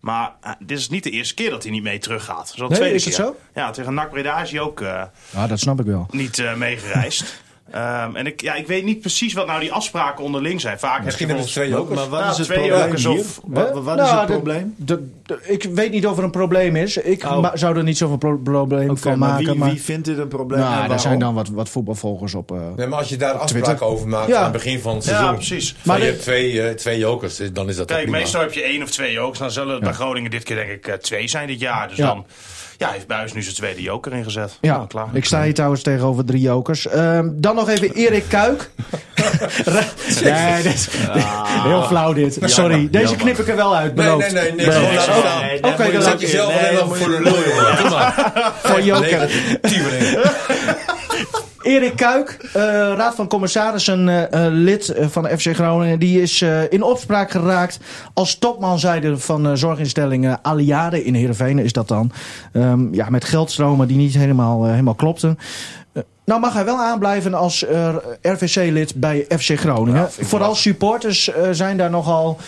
Speaker 4: Maar eh, dit is niet de eerste keer dat hij niet mee teruggaat. Het is al de
Speaker 2: Nee,
Speaker 4: tweede
Speaker 2: is het
Speaker 4: keer.
Speaker 2: zo?
Speaker 4: Ja, tegen NAC Breda is hij ook... eh,
Speaker 2: Ja, dat snap ik wel.
Speaker 4: niet eh, meegereisd. Ehm, en ik, ja, ik weet niet precies wat nou die afspraken onderling zijn. Vaak
Speaker 3: Misschien
Speaker 4: heb je
Speaker 3: hebben ze twee ook.
Speaker 5: Maar wat
Speaker 4: Ja,
Speaker 5: is het
Speaker 4: Nou, twee
Speaker 5: probleem
Speaker 4: jokers
Speaker 5: hier?
Speaker 4: of-
Speaker 5: Wat,
Speaker 2: Hè?
Speaker 5: wat is
Speaker 2: Nou,
Speaker 5: het
Speaker 2: de-
Speaker 5: probleem?
Speaker 2: de- de- ik weet niet of er een probleem is. Ik
Speaker 5: Oh.
Speaker 2: ma- zou er niet zoveel pro- probleem
Speaker 5: Oké,
Speaker 2: van
Speaker 5: maar
Speaker 2: maken.
Speaker 5: wie,
Speaker 2: maar
Speaker 5: wie vindt dit een probleem? en
Speaker 2: nou,
Speaker 5: waarom?
Speaker 2: er zijn dan wat, wat voetbalvolgers op. eh.
Speaker 3: Nee, maar als je daar afspraken
Speaker 2: Twitter.
Speaker 3: over maakt
Speaker 2: Ja.
Speaker 3: aan het begin van het
Speaker 4: Ja,
Speaker 3: seizoen.
Speaker 4: precies.
Speaker 3: Maar
Speaker 2: Maar
Speaker 3: je
Speaker 2: dit-
Speaker 3: hebt twee, eh, twee jokers, dus dan is dat
Speaker 4: Kijk,
Speaker 3: ook prima.
Speaker 4: meestal heb je één of twee jokers. Dan zullen het bij Groningen dit keer denk ik eh, twee zijn dit jaar. Dus
Speaker 2: Ja.
Speaker 4: dan ja, heeft Buis nu zijn tweede joker ingezet.
Speaker 2: ja,
Speaker 4: Nou, klaar.
Speaker 2: ik sta hier trouwens tegenover drie jokers. Ehm, dan nog even Erik Kuik. Ra- nee, dit,
Speaker 5: Ah.
Speaker 2: heel flauw dit. Sorry, deze knip ik er wel uit.
Speaker 3: Nee,
Speaker 2: beloofd.
Speaker 3: nee, nee, niks. Gewoon laten staan.
Speaker 5: Nee,
Speaker 2: Oké,
Speaker 5: daar moet je
Speaker 2: dan
Speaker 5: ook
Speaker 3: Zet jezelf
Speaker 5: in. Nee,
Speaker 3: alleen
Speaker 5: daar
Speaker 3: maar
Speaker 5: moet
Speaker 3: voor
Speaker 5: je-
Speaker 3: de lul, jongen. Doe maar.
Speaker 2: Voor joker.
Speaker 3: Nee, tiefeling.
Speaker 2: Erik Kuik, eh, Raad van Commissarissen, eh, eh, lid eh, van FC Groningen. Die is eh, in opspraak geraakt als topman, zeiden van eh, zorginstelling eh, Aliade in Heerenveen is dat dan. Ehm, ja, met geldstromen die niet helemaal, eh, helemaal klopten. Eh, nou mag hij wel aanblijven als eh, RVC-lid bij FC Groningen.
Speaker 4: Ja, vind ik
Speaker 2: Vooral
Speaker 4: wel.
Speaker 2: supporters eh, zijn daar nogal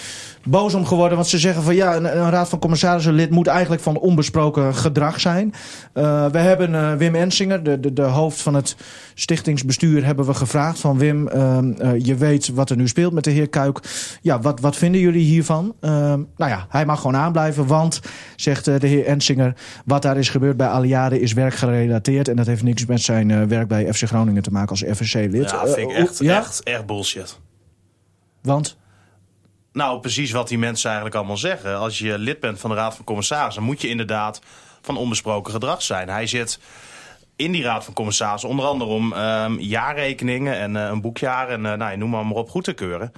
Speaker 2: boos om geworden. Want ze zeggen van ja, een, een raad van commissarissen lid moet eigenlijk van onbesproken gedrag zijn. Eh, we hebben eh, Wim Ensinger, de, de, de hoofd van het stichtingsbestuur, hebben we gevraagd van Wim, ehm, eh, je weet wat er nu speelt met de heer Kuik. Ja, wat, wat vinden jullie hiervan? Ehm, nou ja, hij mag gewoon aanblijven, want, zegt eh, de heer Ensinger, wat daar is gebeurd bij Aliade is werkgerelateerd. En dat heeft niks met zijn eh, werk bij FC Groningen te maken als FSC-lid.
Speaker 4: Ja, vind ik echt, echt, echt bullshit.
Speaker 2: Want?
Speaker 4: Nou, precies wat die mensen eigenlijk allemaal zeggen. Als je lid bent van de Raad van Commissarissen, moet je inderdaad van onbesproken gedrag zijn. Hij zit in die Raad van Commissarissen, onder andere om ehm, jaarrekeningen en eh, een boekjaar en eh, nou, noem maar, maar op goed te keuren.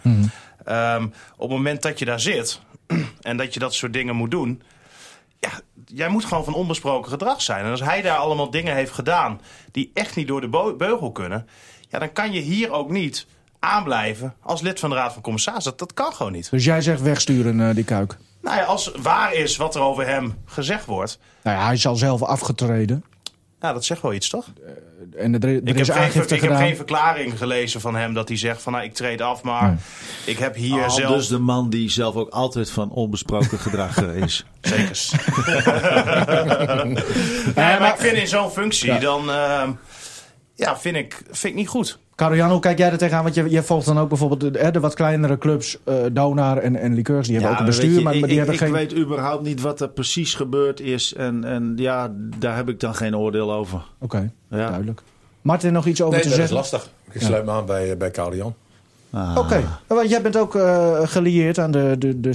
Speaker 4: Ehm, op het moment dat je daar zit en dat je dat soort dingen moet doen. Ja, jij moet gewoon van onbesproken gedrag zijn. En als hij daar allemaal dingen heeft gedaan die echt niet door de bo- beugel kunnen. Ja, dan kan je hier ook niet aanblijven als lid van de Raad van Commissarissen. Dat, dat kan gewoon niet.
Speaker 2: Dus jij zegt wegsturen, eh, die Kuik.
Speaker 4: Nou ja, als waar is wat er over hem gezegd wordt,
Speaker 2: Nou ja, hij is al zelf afgetreden.
Speaker 4: nou, dat zegt wel iets, toch?
Speaker 2: En er, er
Speaker 4: Ik, heb
Speaker 2: is
Speaker 4: geen, ver-
Speaker 2: aangifte
Speaker 4: ik heb
Speaker 2: gedaan.
Speaker 4: geen verklaring gelezen van hem dat hij zegt van, nou, ik treed af, maar ik heb hier
Speaker 5: Al
Speaker 4: zelf...
Speaker 5: dus de man die zelf ook altijd van onbesproken gedrag eh, is.
Speaker 4: Zeker. ja, maar ik vind in zo'n functie, dan ehm, ja, vind, ik, vind ik niet goed.
Speaker 2: Carolian, hoe kijk jij er tegenaan? Want je, je volgt dan ook bijvoorbeeld de, hè, de wat kleinere clubs, eh, Donar en, en Liqueurs. Die hebben ook een
Speaker 5: maar
Speaker 2: bestuur,
Speaker 5: weet je,
Speaker 2: maar, maar
Speaker 5: ik,
Speaker 2: die hebben
Speaker 5: ik
Speaker 2: geen...
Speaker 5: weet überhaupt niet wat er precies gebeurd is. En, en ja, daar heb ik dan geen oordeel over.
Speaker 2: Oké,
Speaker 5: Ja.
Speaker 2: duidelijk. Martin, nog iets over
Speaker 3: Nee,
Speaker 2: te
Speaker 3: dat is
Speaker 2: zeggen?
Speaker 3: lastig. Ik sluit me aan bij, eh, bij Karel Jan.
Speaker 5: Ah.
Speaker 2: Oké, want jij bent ook eh, gelieerd aan de, de, de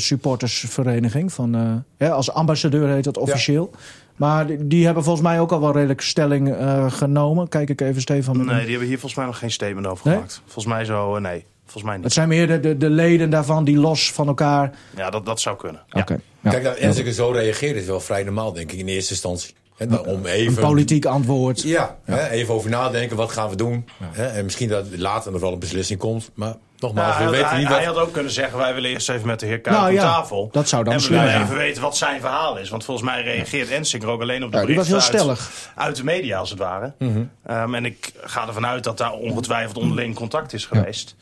Speaker 2: supportersvereniging. Van, eh, hè, als ambassadeur heet dat officieel. Maar die, die hebben volgens mij ook al wel redelijk stelling eh, genomen. Kijk ik even, Stefan. met
Speaker 4: Nee,
Speaker 2: een-
Speaker 4: die hebben hier volgens mij nog geen statement over
Speaker 2: Nee?
Speaker 4: gemaakt. Volgens mij zo, eh, nee. Volgens mij
Speaker 2: Het
Speaker 4: niet.
Speaker 2: zijn meer de, de, de leden daarvan die los van elkaar...
Speaker 4: Ja, dat, dat zou kunnen.
Speaker 2: Oké.
Speaker 4: Ja.
Speaker 2: ja.
Speaker 3: Kijk, nou, dat Enziker zo reageert is wel vrij normaal, denk ik, in eerste instantie. En dan om
Speaker 2: Een
Speaker 3: even...
Speaker 2: politiek antwoord.
Speaker 3: Ja, hè, even over nadenken, wat gaan we doen? Hè, en misschien dat later nog wel een beslissing komt. Maar
Speaker 4: Nou,
Speaker 3: nogmaals, we
Speaker 4: hij, had,
Speaker 3: weten
Speaker 4: hij-
Speaker 3: niet
Speaker 4: hij
Speaker 3: wat...
Speaker 4: had ook kunnen zeggen, wij willen eerst even met de heer Kuik
Speaker 2: Nou
Speaker 4: op
Speaker 2: ja,
Speaker 4: tafel.
Speaker 2: dat zou dan
Speaker 4: En we
Speaker 2: slimmer
Speaker 4: willen
Speaker 2: zijn.
Speaker 4: even weten wat zijn verhaal is. Want volgens mij reageert Ensinger ook alleen op de
Speaker 2: Ja, die was
Speaker 4: berichten
Speaker 2: heel
Speaker 4: uit-
Speaker 2: stellig. Mhm.
Speaker 4: Uit, de media, als het ware. Ehm, en ik ga ervan uit dat daar ongetwijfeld onderling contact is geweest.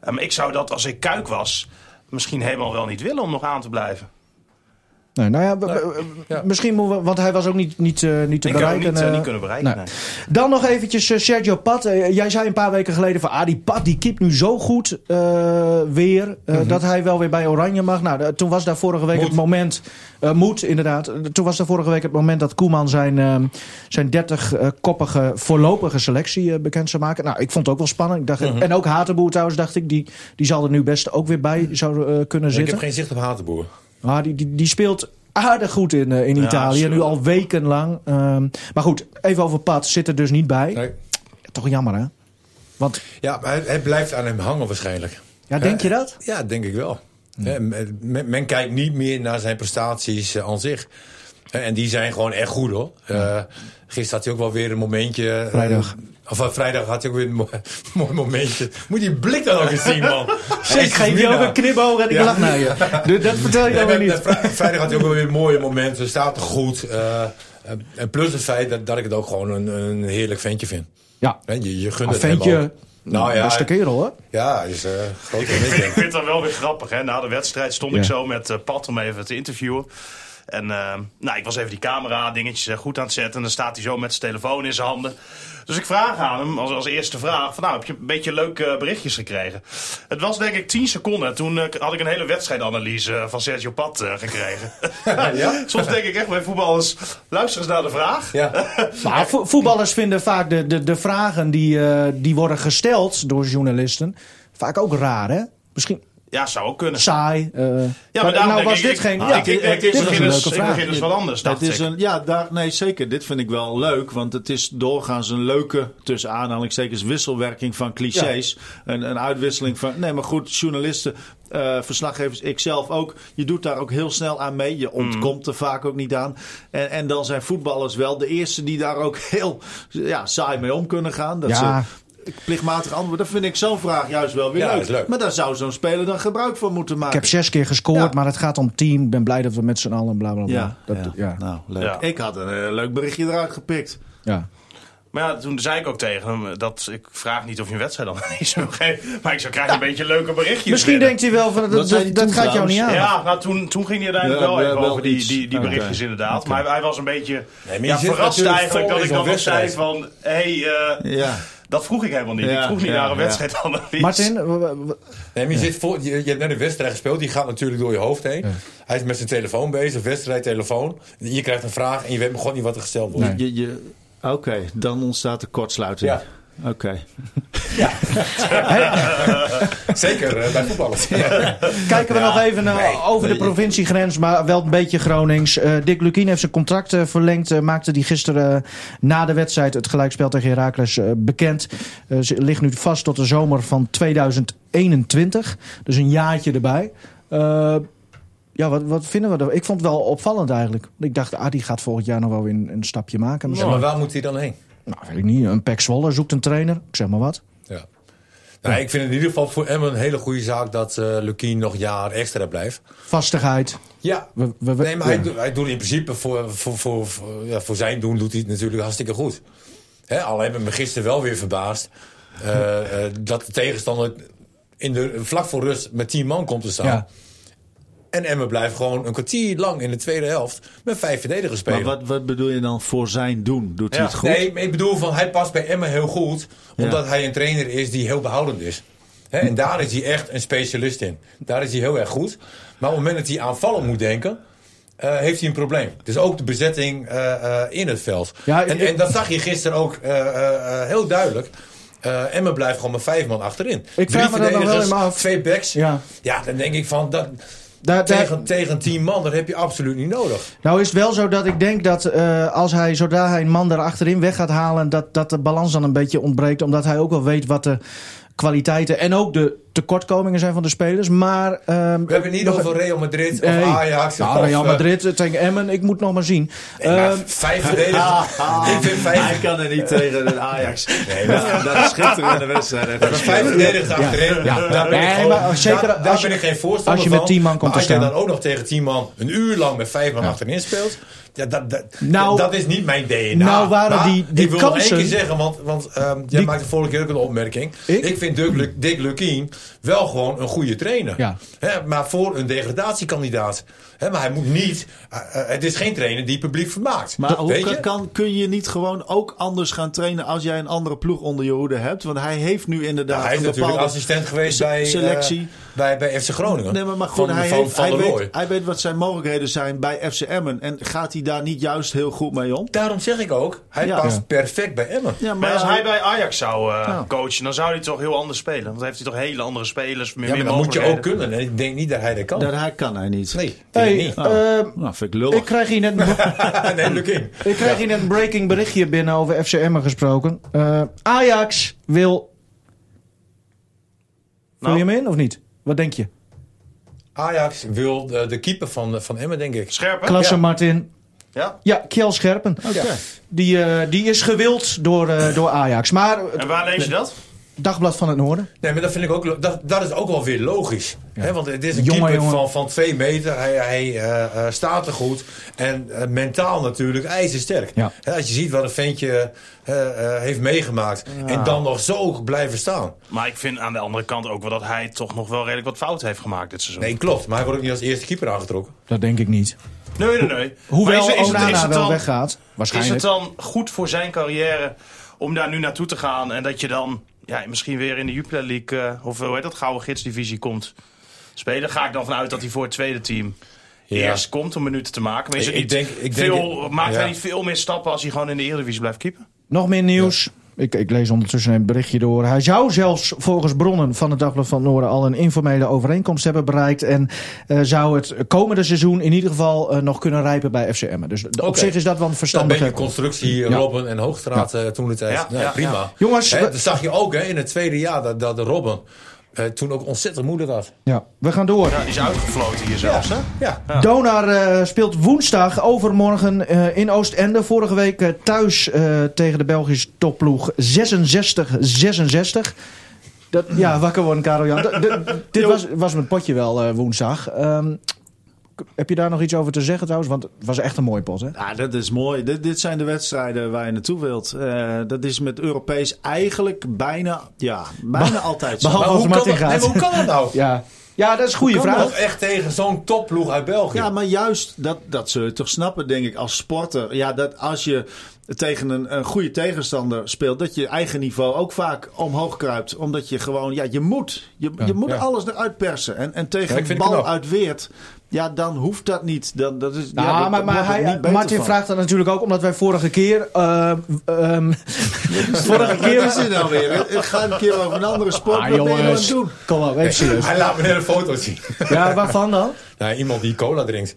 Speaker 4: Ehm, ik zou dat, als ik Kuik was, misschien helemaal wel niet willen om nog aan te blijven.
Speaker 2: Nee, nou ja, b- b-
Speaker 3: ja.
Speaker 2: misschien moeten we, want hij was ook niet, niet, eh, niet te
Speaker 4: Ik heb hem
Speaker 2: bereiken.
Speaker 4: niet, eh,
Speaker 2: eh,
Speaker 4: niet kunnen bereiken.
Speaker 2: nee.
Speaker 4: nee.
Speaker 2: Dan nog eventjes eh, Sergio Pat. Eh, jij zei een paar weken geleden van, ah die Pat die keept nu zo goed eh, weer, eh, dat hij wel weer bij Oranje mag. Nou, da- toen was daar vorige week het moment, eh moet inderdaad, Eh, toen was daar vorige week het moment dat Koeman zijn, ehm, zijn 30-koppige voorlopige selectie eh, bekend zou maken. Nou, ik vond het ook wel spannend. Ik dacht, En ook Hatenboer trouwens, dacht ik, die, die zal er nu best ook weer bij zou eh, kunnen
Speaker 3: Ik
Speaker 2: zitten.
Speaker 3: heb geen zicht op Hatenboer.
Speaker 2: Maar die, die, die speelt aardig goed in, eh, in Italië.
Speaker 4: absoluut.
Speaker 2: Nu al wekenlang. Ehm maar goed, even over Pat. Zit er dus niet bij.
Speaker 3: Nee.
Speaker 2: Toch jammer, hè? Want,
Speaker 3: Ja, maar het, het blijft aan hem hangen waarschijnlijk. Hm.
Speaker 2: ja, denk je
Speaker 4: Eh,
Speaker 2: dat?
Speaker 3: Ja, denk ik wel. Hè, men, men kijkt niet meer naar zijn prestaties eh, aan zich. Hè, En die zijn gewoon echt goed hoor. Eh, gisteren had hij ook wel weer een momentje. eh,
Speaker 2: Vrijdag.
Speaker 3: of eh, vrijdag had hij ook weer een mo- mooi momentje. Moet je die blik dan ook eens zien, man.
Speaker 2: Ik geef je ook een knipoog en ik
Speaker 3: Ja.
Speaker 2: lach naar je. Dus Dat vertel je
Speaker 3: Nee,
Speaker 2: dan
Speaker 3: maar
Speaker 2: weer niet.
Speaker 3: vrij- Vrijdag had hij ook wel weer mooie momenten. Staat er goed. eh, eh, en plus het feit dat, dat ik het ook gewoon een, een heerlijk ventje vind.
Speaker 2: Ja,
Speaker 3: Hè, Je, je gunt
Speaker 2: een
Speaker 3: het hem
Speaker 2: ventje.
Speaker 3: ook. Nou ja,
Speaker 2: Beste kerel, hè?
Speaker 3: ja, is eh groot
Speaker 4: Ik vind, ik vind dat wel weer grappig. Hè? Na de wedstrijd stond
Speaker 2: Ja.
Speaker 4: ik zo met eh, Pat om even te interviewen. En eh, nou, ik was even die camera dingetjes eh, goed aan het zetten. En dan staat hij zo met zijn telefoon in zijn handen. Dus ik vraag aan hem, als, als eerste vraag, van nou, heb je een beetje leuke eh, berichtjes gekregen? Het was denk ik 10 seconden. Toen eh, had ik een hele wedstrijdanalyse eh, van Sergio Pat eh, gekregen.
Speaker 3: Ja?
Speaker 4: Soms denk ik echt bij voetballers, luister eens naar de vraag.
Speaker 3: Ja.
Speaker 2: Maar vo- voetballers vinden vaak de, de, de vragen die, eh, die worden gesteld door journalisten... vaak ook raar, hè? Misschien
Speaker 4: Ja, zou ook kunnen.
Speaker 2: saai. eh.
Speaker 4: Ja, maar daarom
Speaker 2: nou
Speaker 4: denk
Speaker 2: was
Speaker 4: ik-
Speaker 2: dit
Speaker 4: ik-
Speaker 2: geen...
Speaker 4: ik-
Speaker 2: ja,
Speaker 4: ik- Ah, ik- ik-
Speaker 2: dit
Speaker 4: ik-
Speaker 2: was
Speaker 4: ik-
Speaker 2: een
Speaker 4: ik-
Speaker 2: leuke
Speaker 4: ik-
Speaker 2: vraag.
Speaker 4: ik- is wat anders,
Speaker 5: Dat
Speaker 4: dacht
Speaker 5: is
Speaker 4: ik.
Speaker 5: een, ja, daar, nee, zeker. Dit vind ik wel leuk. Want het is doorgaans een leuke, tussen aanhalingstekens, wisselwerking van clichés. Een, een uitwisseling van. Nee, maar goed, journalisten, eh, verslaggevers, ikzelf ook. Je doet daar ook heel snel aan mee.
Speaker 4: Mhm.
Speaker 5: Je ontkomt er vaak ook niet aan. En, en dan zijn voetballers wel de eerste die daar ook heel ja, saai mee om kunnen gaan. Dat
Speaker 2: Ja.
Speaker 5: ze, Plichtmatig antwoord, dat vind ik zo'n vraag juist wel weer
Speaker 3: Ja,
Speaker 5: leuk.
Speaker 3: is leuk.
Speaker 5: Maar daar zou zo'n speler dan gebruik van moeten
Speaker 2: Ik
Speaker 5: maken.
Speaker 2: heb zes keer gescoord,
Speaker 5: Ja.
Speaker 2: maar het gaat om team. Ik ben blij dat we met z'n allen bla bla bla.
Speaker 5: Ja,
Speaker 2: dat, ja.
Speaker 5: nou leuk.
Speaker 4: Ja.
Speaker 5: Ik had een eh, leuk berichtje eruit gepikt.
Speaker 2: Ja.
Speaker 4: Maar ja, toen zei ik ook tegen hem eh, dat ik vraag niet of je een wedstrijd dan is. Maar ik zou krijgen een beetje leuke berichtjes.
Speaker 2: Misschien
Speaker 4: binnen.
Speaker 2: denkt hij wel van dat,
Speaker 5: Wat
Speaker 2: dat,
Speaker 5: zei hij
Speaker 2: dat
Speaker 5: toen
Speaker 2: gaat jou
Speaker 5: trouwens?
Speaker 2: niet aan.
Speaker 4: Ja, nou, toen, toen ging hij uiteindelijk
Speaker 5: Ja,
Speaker 4: wel even
Speaker 5: wel
Speaker 4: over die,
Speaker 5: iets.
Speaker 4: die, die
Speaker 5: Oké.
Speaker 4: berichtjes inderdaad. Maar hij, hij was een beetje
Speaker 3: maar je
Speaker 4: ja,
Speaker 3: zit
Speaker 4: verrast
Speaker 3: natuurlijk
Speaker 4: eigenlijk
Speaker 3: vol
Speaker 4: dat
Speaker 3: in
Speaker 4: ik dan
Speaker 3: zo'n
Speaker 4: nog zei
Speaker 3: wedstrijd.
Speaker 4: van... Hé, hey, eh,
Speaker 5: Ja.
Speaker 4: dat vroeg ik helemaal niet.
Speaker 5: Ja,
Speaker 4: ik vroeg niet
Speaker 5: ja,
Speaker 4: naar een
Speaker 5: ja.
Speaker 4: wedstrijdanalyse.
Speaker 2: Martin, w- w- w-
Speaker 3: Nee, maar je, zit voor, je, je hebt net een wedstrijd gespeeld, die gaat natuurlijk door je hoofd heen. Hij is met zijn telefoon bezig, wedstrijd, telefoon. Je krijgt een vraag en je weet gewoon niet wat er gesteld wordt.
Speaker 5: Je, je, Oké, dan ontstaat de kortsluiting.
Speaker 3: Ja.
Speaker 5: Oké.
Speaker 3: Zeker eh, bij voetballers.
Speaker 2: kijken we nog even eh, over de
Speaker 5: Nee,
Speaker 2: provinciegrens, maar wel een beetje Gronings. Eh, Dick Lukien heeft zijn contract eh, verlengd. eh, maakte die gisteren eh, na de wedstrijd het gelijkspel tegen Heracles eh, bekend. Eh, ze ligt nu vast tot de zomer van 2021. Dus een jaartje erbij. Eh, ja, wat, wat vinden we er? Ik vond het wel opvallend eigenlijk. Ik dacht, ah, die gaat volgend jaar nog wel weer een, een stapje maken.
Speaker 3: Ja, maar waar moet hij dan heen?
Speaker 2: Nou, weet ik niet. Een Pek Zwolle zoekt een trainer. Ik zeg maar wat.
Speaker 3: Ja. Nou, Ik vind het in ieder geval voor Emmen een hele goede zaak dat eh Lukien nog een jaar extra blijft.
Speaker 2: Vastigheid.
Speaker 3: Ja,
Speaker 2: We- we- we-
Speaker 3: nee, maar
Speaker 2: ja.
Speaker 3: hij, doet, hij doet in principe voor, voor, voor, voor- ja, voor zijn doen doet hij het natuurlijk hartstikke goed. Hè, al hebben me gisteren wel weer verbaasd eh, eh, dat de tegenstander in de, vlak voor rust met 10 man komt te staan.
Speaker 2: Ja.
Speaker 3: En Emmen blijft gewoon een kwartier lang in de tweede helft met vijf verdedigers
Speaker 5: Maar
Speaker 3: spelen.
Speaker 5: wat, wat bedoel je dan voor zijn doen? Doet hij
Speaker 4: Ja.
Speaker 5: het goed?
Speaker 3: Nee, maar ik bedoel van hij past bij Emmen heel goed, omdat hij een trainer is die heel behoudend is. Hè, en daar is hij echt een specialist in. Daar is hij heel erg goed. Maar op het moment dat hij aanvallen moet denken, eh, heeft hij een probleem. Dus ook de bezetting eh, eh, in het veld.
Speaker 2: Ja,
Speaker 3: en,
Speaker 2: ik-
Speaker 3: en dat zag je gisteren ook eh, eh, eh, heel duidelijk. Eh Emmen blijft gewoon met vijf man achterin.
Speaker 2: Ik vraag me dat nog wel
Speaker 3: verdedigers,
Speaker 2: helemaal af.
Speaker 3: twee backs.
Speaker 2: Ja.
Speaker 3: Ja. dan denk ik van dat,
Speaker 2: Daar, daar-
Speaker 3: tegen, tegen tien man, dat heb je absoluut niet nodig.
Speaker 2: Nou is het wel zo dat ik denk dat eh, als hij, zodra hij een man daar achterin weg gaat halen, dat, dat de balans dan een beetje ontbreekt. Omdat hij ook wel weet wat de kwaliteiten en ook de tekortkomingen zijn van de spelers. Maar ehm,
Speaker 3: We hebben niet
Speaker 2: nog-
Speaker 3: over Real Madrid of
Speaker 2: Nee.
Speaker 3: Ajax.
Speaker 2: Ja,
Speaker 3: of,
Speaker 2: Real
Speaker 3: eh,
Speaker 2: Madrid eh, tegen Emmen, ik moet nog maar zien.
Speaker 3: Nee, maar
Speaker 2: Ehm,
Speaker 3: vijf verdedigers. ik vind
Speaker 5: Ah. Hij
Speaker 3: vijf,
Speaker 5: kan er niet tegen de Ajax. Nee, dat, dat is schitterende wedstrijd.
Speaker 3: maar vijf verdedigers achterin.
Speaker 2: ja.
Speaker 3: Daar ben ik
Speaker 2: Nee,
Speaker 3: gewoon-
Speaker 2: maar als- zeker
Speaker 3: daar- daar
Speaker 2: als je-
Speaker 3: ben ik geen voorstander
Speaker 2: als je met
Speaker 3: van.
Speaker 2: tien man komt
Speaker 3: Maar als
Speaker 2: te
Speaker 3: je
Speaker 2: staan.
Speaker 3: dan ook nog tegen tien man een uur lang met vijf man achterin speelt. Ja, dat, dat,
Speaker 2: Nou,
Speaker 3: dat is niet mijn DNA.
Speaker 2: nou waren
Speaker 3: Maar
Speaker 2: die- die
Speaker 3: ik wil nog
Speaker 2: kansen-
Speaker 3: één keer zeggen, want, want ehm, jij
Speaker 2: Die-
Speaker 3: maakte vorige keer ook een opmerking.
Speaker 2: Ik?
Speaker 3: Ik, vind Dick, Lu- Dick Lukien wel gewoon een goede trainer.
Speaker 2: Ja.
Speaker 3: Hè, maar voor een degradatiekandidaat. Hè, maar hij moet niet... eh, eh, het is geen trainer die publiek vermaakt.
Speaker 5: Maar hoe
Speaker 3: Weet
Speaker 5: kan,
Speaker 3: je?
Speaker 5: kan- kun je niet gewoon ook anders gaan trainen als jij een andere ploeg onder je hoede hebt? Want hij heeft nu inderdaad
Speaker 3: Ja, hij is
Speaker 5: een
Speaker 3: natuurlijk
Speaker 5: bepaalde...
Speaker 3: assistent geweest
Speaker 5: se-
Speaker 3: bij, eh,
Speaker 5: selectie.
Speaker 3: bij, bij FC Groningen.
Speaker 5: Nee, maar, maar goed,
Speaker 3: van,
Speaker 5: hij,
Speaker 3: van,
Speaker 5: heeft,
Speaker 3: van
Speaker 5: hij,
Speaker 3: der
Speaker 5: weet,
Speaker 3: Looy.
Speaker 5: hij weet wat zijn mogelijkheden zijn bij FC Emmen. En gaat hij daar niet juist heel goed mee om?
Speaker 3: Daarom zeg ik ook, hij
Speaker 5: Ja.
Speaker 3: past
Speaker 5: Ja.
Speaker 3: perfect bij Emmen.
Speaker 5: Ja,
Speaker 4: Maar als hij bij Ajax zou eh, coachen, dan zou hij toch heel anders spelen. Want dan heeft hij toch hele andere spelers. Meer,
Speaker 3: Ja, maar
Speaker 4: meer
Speaker 3: dat moet je ook
Speaker 4: mogelijkheden.
Speaker 3: kunnen. En ik denk niet dat hij dat kan.
Speaker 5: Dat hij kan hij niet.
Speaker 3: Nee, ik denk
Speaker 2: hey,
Speaker 3: niet.
Speaker 2: ehm,
Speaker 5: Nou, vind ik lullig.
Speaker 2: ik krijg hier net een
Speaker 3: nee, luk in.
Speaker 2: Ik krijg hier net een breaking berichtje binnen over FC Emmen gesproken. Eh, Ajax wil... Vul
Speaker 4: Nou.
Speaker 2: je hem in of niet? Wat denk je?
Speaker 3: Ajax wil de, de keeper van, van Emmen, denk ik.
Speaker 4: Scherp, hè?
Speaker 2: Klasse
Speaker 3: Ja.
Speaker 2: Martin.
Speaker 4: Ja.
Speaker 2: Ja, Kjell Scherpen.
Speaker 3: Ja.
Speaker 2: Die, eh, die is gewild door, eh, door Ajax. Maar het
Speaker 4: En waar lees je dat?
Speaker 2: Dagblad van het Noorden.
Speaker 3: Nee, maar dat vind ik ook. lo- Dat, dat is ook wel weer logisch. Hè, want het is een
Speaker 2: Jongen,
Speaker 3: keeper
Speaker 2: jongen.
Speaker 3: Van, van twee meter. Hij, hij eh, eh, staat er goed. En eh, mentaal natuurlijk ijzersterk.
Speaker 2: Ja.
Speaker 3: Hè, als je ziet wat een ventje eh, eh, heeft meegemaakt. En dan nog zo blijven staan.
Speaker 4: Maar ik vind aan de andere kant ook wel dat hij toch nog wel redelijk wat fouten heeft gemaakt dit seizoen.
Speaker 3: Nee, klopt. Maar hij wordt ook niet als eerste keeper aangetrokken.
Speaker 2: Dat denk ik niet.
Speaker 4: Nee, nee, nee.
Speaker 2: Hoewel
Speaker 4: Maar is- is het- is
Speaker 2: Onana
Speaker 4: het
Speaker 2: wel
Speaker 4: dan-
Speaker 2: weggaat.
Speaker 4: Is
Speaker 2: Waarschijnlijk.
Speaker 4: het dan goed voor zijn carrière om daar nu naartoe te gaan en dat je dan ja, misschien weer in de Jupiler League eh, of hoe heet dat, Gouden Gidsdivisie komt spelen? Ga ik dan vanuit dat hij voor het tweede team eerst komt om minuten te maken? Maar is
Speaker 3: Ik-
Speaker 4: het
Speaker 3: ik
Speaker 4: niet
Speaker 3: denk- ik denk-
Speaker 4: veel, maakt hij
Speaker 3: ja.
Speaker 4: niet veel meer stappen als hij gewoon in de Eredivisie blijft keeper?
Speaker 2: Nog meer nieuws. Ik, ik lees ondertussen een berichtje door. Hij zou zelfs volgens bronnen van het Dagblad van het Noorden al een informele overeenkomst hebben bereikt. En eh, zou het komende seizoen in ieder geval eh, nog kunnen rijpen bij FC Emmen. Dus d- op
Speaker 3: Oké.
Speaker 2: zich is dat wel een
Speaker 3: Dan ben je
Speaker 2: verstandige...
Speaker 3: constructie, Robben en Hoogstraat eh, toen de tijd.
Speaker 4: Ja,
Speaker 3: Nou,
Speaker 4: ja,
Speaker 3: prima.
Speaker 4: ja.
Speaker 2: Jongens,
Speaker 3: Hè,
Speaker 2: we-
Speaker 3: dat zag je ook hè, in het tweede jaar dat, dat Robben eh, toen ook ontzettend moeilijk had.
Speaker 2: Ja, we gaan door.
Speaker 4: Ja, die is uitgefloten hier zelfs, hè?
Speaker 3: Ja.
Speaker 2: Donar eh, speelt woensdag overmorgen eh, in Oostende. Vorige week eh, thuis eh, tegen de Belgische topploeg 66-66. Dat, ja, wakker worden, Karel Jan. D- d- dit was, was mijn potje wel eh, woensdag. Ehm, Heb je daar nog iets over te zeggen trouwens? Want het was echt een mooie pot, hè?
Speaker 5: Ja, dat is mooi. Dit, dit zijn de wedstrijden waar je naartoe wilt. Eh, dat is met Europees eigenlijk bijna, ja, bijna altijd zo.
Speaker 2: behalve-
Speaker 3: Maar
Speaker 2: als
Speaker 3: hoe kan,
Speaker 2: Martin
Speaker 3: dat, nee,
Speaker 2: gaat.
Speaker 3: maar hoe kan dat nou?
Speaker 2: Ja, ja dat is een goede
Speaker 3: Hoe kan dat
Speaker 2: vraag.
Speaker 3: echt tegen zo'n topploeg uit België?
Speaker 5: Ja, maar juist dat, dat zul je toch snappen, denk ik, als sporter. Ja, dat als je tegen een, een goede tegenstander speelt, dat je eigen niveau ook vaak omhoog kruipt. Omdat je gewoon, ja, je moet. Je, je moet
Speaker 3: ja.
Speaker 5: alles eruit persen. En, en
Speaker 3: Ja, ik
Speaker 5: tegen een
Speaker 3: vind het
Speaker 5: bal
Speaker 3: knap.
Speaker 5: uit Weert, ja, dan hoeft dat niet. Dan, dat is,
Speaker 2: Ja,
Speaker 5: ja, dat-
Speaker 2: Nou, maar,
Speaker 5: dat
Speaker 2: maar
Speaker 5: wordt er
Speaker 2: hij,
Speaker 5: niet beter
Speaker 2: Martin
Speaker 5: van.
Speaker 2: vraagt dat natuurlijk ook omdat wij vorige keer. eh, ehm, vorige
Speaker 5: Wat is
Speaker 2: keer.
Speaker 5: dit nou weer? Het- Het gaat een keer over een andere sport.
Speaker 2: Ah,
Speaker 5: Wat ben je nou aan het
Speaker 2: jongens.
Speaker 5: doen?
Speaker 2: Kom op, even serieus.
Speaker 3: Hij laat me net een foto zien.
Speaker 2: Ja, waarvan dan?
Speaker 3: nou, iemand die cola drinkt.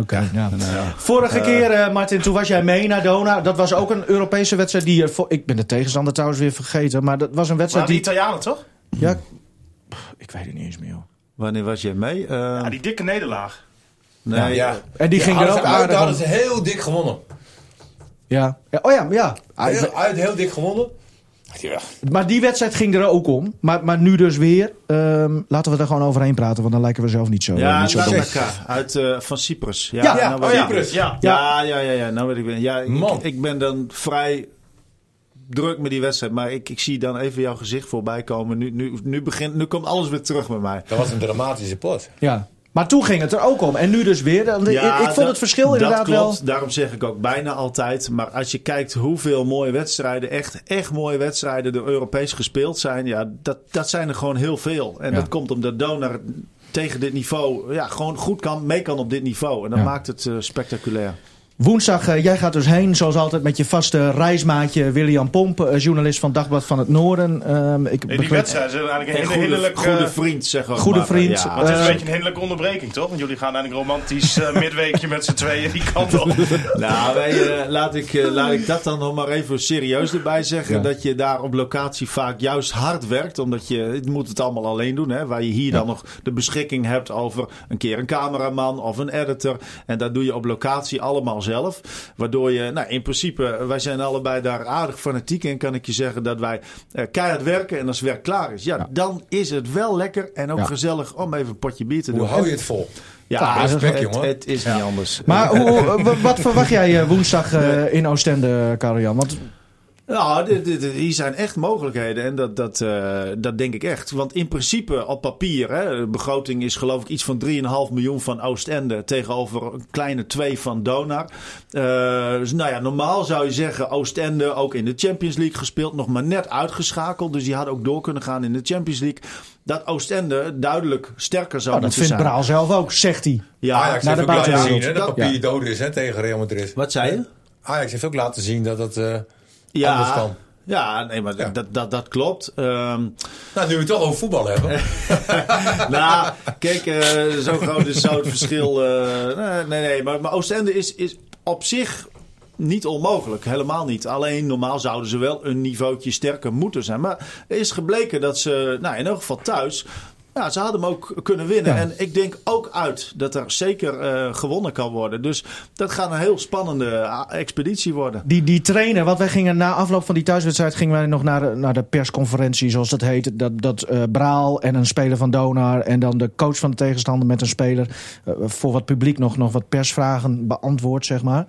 Speaker 2: Oké, ja. Vorige keer, eh, Martin, toen was jij mee naar Dona. Dat was ook een Europese wedstrijd die... je vo- ik ben de tegenstander trouwens weer vergeten. Maar dat was een
Speaker 4: Maar
Speaker 2: wedstrijd
Speaker 4: die
Speaker 2: die...
Speaker 4: Italianen toch?
Speaker 2: Ja, Pff, ik weet het niet eens meer, joh.
Speaker 5: Wanneer was jij mee? Eh,
Speaker 4: Ja, die dikke nederlaag.
Speaker 5: nee, eh,
Speaker 3: Ja.
Speaker 2: En die ging er
Speaker 3: hadden
Speaker 2: ook
Speaker 3: ze uit,
Speaker 2: aardig
Speaker 3: hadden
Speaker 2: om.
Speaker 3: ze heel dik gewonnen.
Speaker 2: Ja. ja. Oh ja, maar ja. Ah, ik
Speaker 3: Heel, uit heel dik gewonnen. Ja.
Speaker 2: weet- Maar die wedstrijd ging er ook om. Maar, maar nu dus weer. Ehm, laten we er gewoon overheen praten, want dan lijken we zelf niet zo, eh,
Speaker 5: Ja,
Speaker 2: niet zo dom.
Speaker 5: Larnaca uit eh, van Cyprus. Ja,
Speaker 2: Ja,
Speaker 5: nou
Speaker 3: ja,
Speaker 5: weet
Speaker 3: oh
Speaker 5: ik
Speaker 3: ja.
Speaker 5: het.
Speaker 4: Ja.
Speaker 5: Ja, ja, ja, ja, nou weet ik weer. Ja, ik,
Speaker 3: Man.
Speaker 5: ik ben dan vrij druk met die wedstrijd, maar ik, ik zie dan even jouw gezicht voorbij komen. Nu, nu, nu, begint, nu komt alles weer terug bij mij.
Speaker 3: Dat was een dramatische pot.
Speaker 2: Ja. Maar toen ging het er ook om. En nu dus weer. Dan-
Speaker 5: Ja,
Speaker 2: ik, ik vond
Speaker 5: dat-
Speaker 2: het verschil
Speaker 5: dat
Speaker 2: inderdaad
Speaker 5: klopt.
Speaker 2: wel...
Speaker 5: Daarom zeg ik ook bijna altijd. Maar als je kijkt hoeveel mooie wedstrijden, echt, echt mooie wedstrijden door Europees gespeeld zijn. Ja, dat, dat zijn er gewoon heel veel. En
Speaker 2: Ja.
Speaker 5: dat komt omdat Donar tegen dit niveau ja, gewoon goed kan, mee kan op dit niveau. En dat
Speaker 2: Ja.
Speaker 5: maakt het eh, spectaculair.
Speaker 2: Woensdag, eh, jij gaat dus heen, zoals altijd, met je vaste reismaatje William Pomp, eh, journalist van Dagblad van het Noorden. Ehm, ik
Speaker 4: Nee, die
Speaker 2: begreep-
Speaker 4: wedstrijd is eigenlijk een
Speaker 5: En
Speaker 4: hele,
Speaker 5: goede,
Speaker 4: heerlijk,
Speaker 5: goede
Speaker 4: eh,
Speaker 5: vriend, zeg ook
Speaker 2: goede
Speaker 5: maar.
Speaker 2: vriend,
Speaker 5: Ja.
Speaker 4: Maar het is
Speaker 2: Eh,
Speaker 4: een beetje een heerlijke onderbreking, toch? Want jullie gaan naar een romantisch eh, midweekje met z'n tweeën die kant op.
Speaker 5: Nou, wij, eh, laat, ik, eh, laat ik dat dan nog maar even serieus erbij zeggen.
Speaker 2: Ja.
Speaker 5: Dat je daar op locatie vaak juist hard werkt. Omdat je, het moet het allemaal alleen doen. Hè, waar je hier dan nog de beschikking hebt over een keer een cameraman of een editor. En dat doe je op locatie allemaal zelf. Waardoor je, nou in principe, wij zijn allebei daar aardig fanatiek in. Kan ik je zeggen dat wij eh, keihard werken. En als het werk klaar is, ja, dan is het wel lekker en ook
Speaker 2: Ja.
Speaker 5: gezellig om even een potje bier te doen.
Speaker 3: Hoe hou je
Speaker 5: En-
Speaker 3: het vol?
Speaker 5: Ja,
Speaker 3: Ja,
Speaker 5: het,
Speaker 3: respect,
Speaker 5: het,
Speaker 3: jongen.
Speaker 5: het is niet anders.
Speaker 2: Maar hoe, hoe- w- wat verwacht jij eh, woensdag eh, in Oostende, Karel-Jan? Want
Speaker 5: Nou, dit- dit- dit- hier zijn echt mogelijkheden en dat, dat, eh, dat denk ik echt. Want in principe op papier, hè, de begroting is geloof ik iets van 3,5 miljoen van Oostende tegenover een kleine 2 van Donar. Eh, dus nou ja, normaal zou je zeggen Oostende ook in de Champions League gespeeld, nog maar net uitgeschakeld. Dus die had ook door kunnen gaan in de Champions League. Dat Oostende duidelijk sterker zou
Speaker 3: Oh,
Speaker 2: nou, dat
Speaker 5: moeten
Speaker 2: vindt
Speaker 5: zijn.
Speaker 2: Braal zelf ook, zegt hij.
Speaker 5: Ja,
Speaker 3: Ajax
Speaker 2: naar
Speaker 3: heeft
Speaker 2: de
Speaker 3: ook laten
Speaker 2: buitenwereld.
Speaker 3: zien hè, dat
Speaker 5: Dat-
Speaker 3: papier
Speaker 2: ja.
Speaker 3: dood is hè, tegen Real Madrid.
Speaker 5: Wat zei je?
Speaker 3: Ajax heeft ook laten zien dat dat eh, anders
Speaker 5: Ja,
Speaker 3: kan.
Speaker 5: ja, nee, maar
Speaker 3: Ja.
Speaker 5: Dat, dat, dat klopt. Ehm,
Speaker 3: Nou, nu we het toch over voetbal hebben.
Speaker 5: nou, kijk, eh, zo groot is zo het verschil. eh, nee, nee, nee, maar, maar Oostende is, is op zich niet onmogelijk. Helemaal niet. Alleen normaal zouden ze wel een niveautje sterker moeten zijn. Maar er is gebleken dat ze, nou, in elk geval thuis. Ja, ze hadden hem ook kunnen winnen.
Speaker 2: Ja.
Speaker 5: En ik denk ook uit dat er zeker eh, gewonnen kan worden. Dus dat gaat een heel spannende ah, expeditie worden.
Speaker 2: Die, die trainer, want wij gingen na afloop van die thuiswedstrijd gingen wij nog naar, de- naar de persconferentie, zoals dat heet. Dat, dat eh, Braal en een speler van Donar en dan de coach van de tegenstander met een speler eh, voor wat publiek nog, nog wat persvragen beantwoord, zeg maar.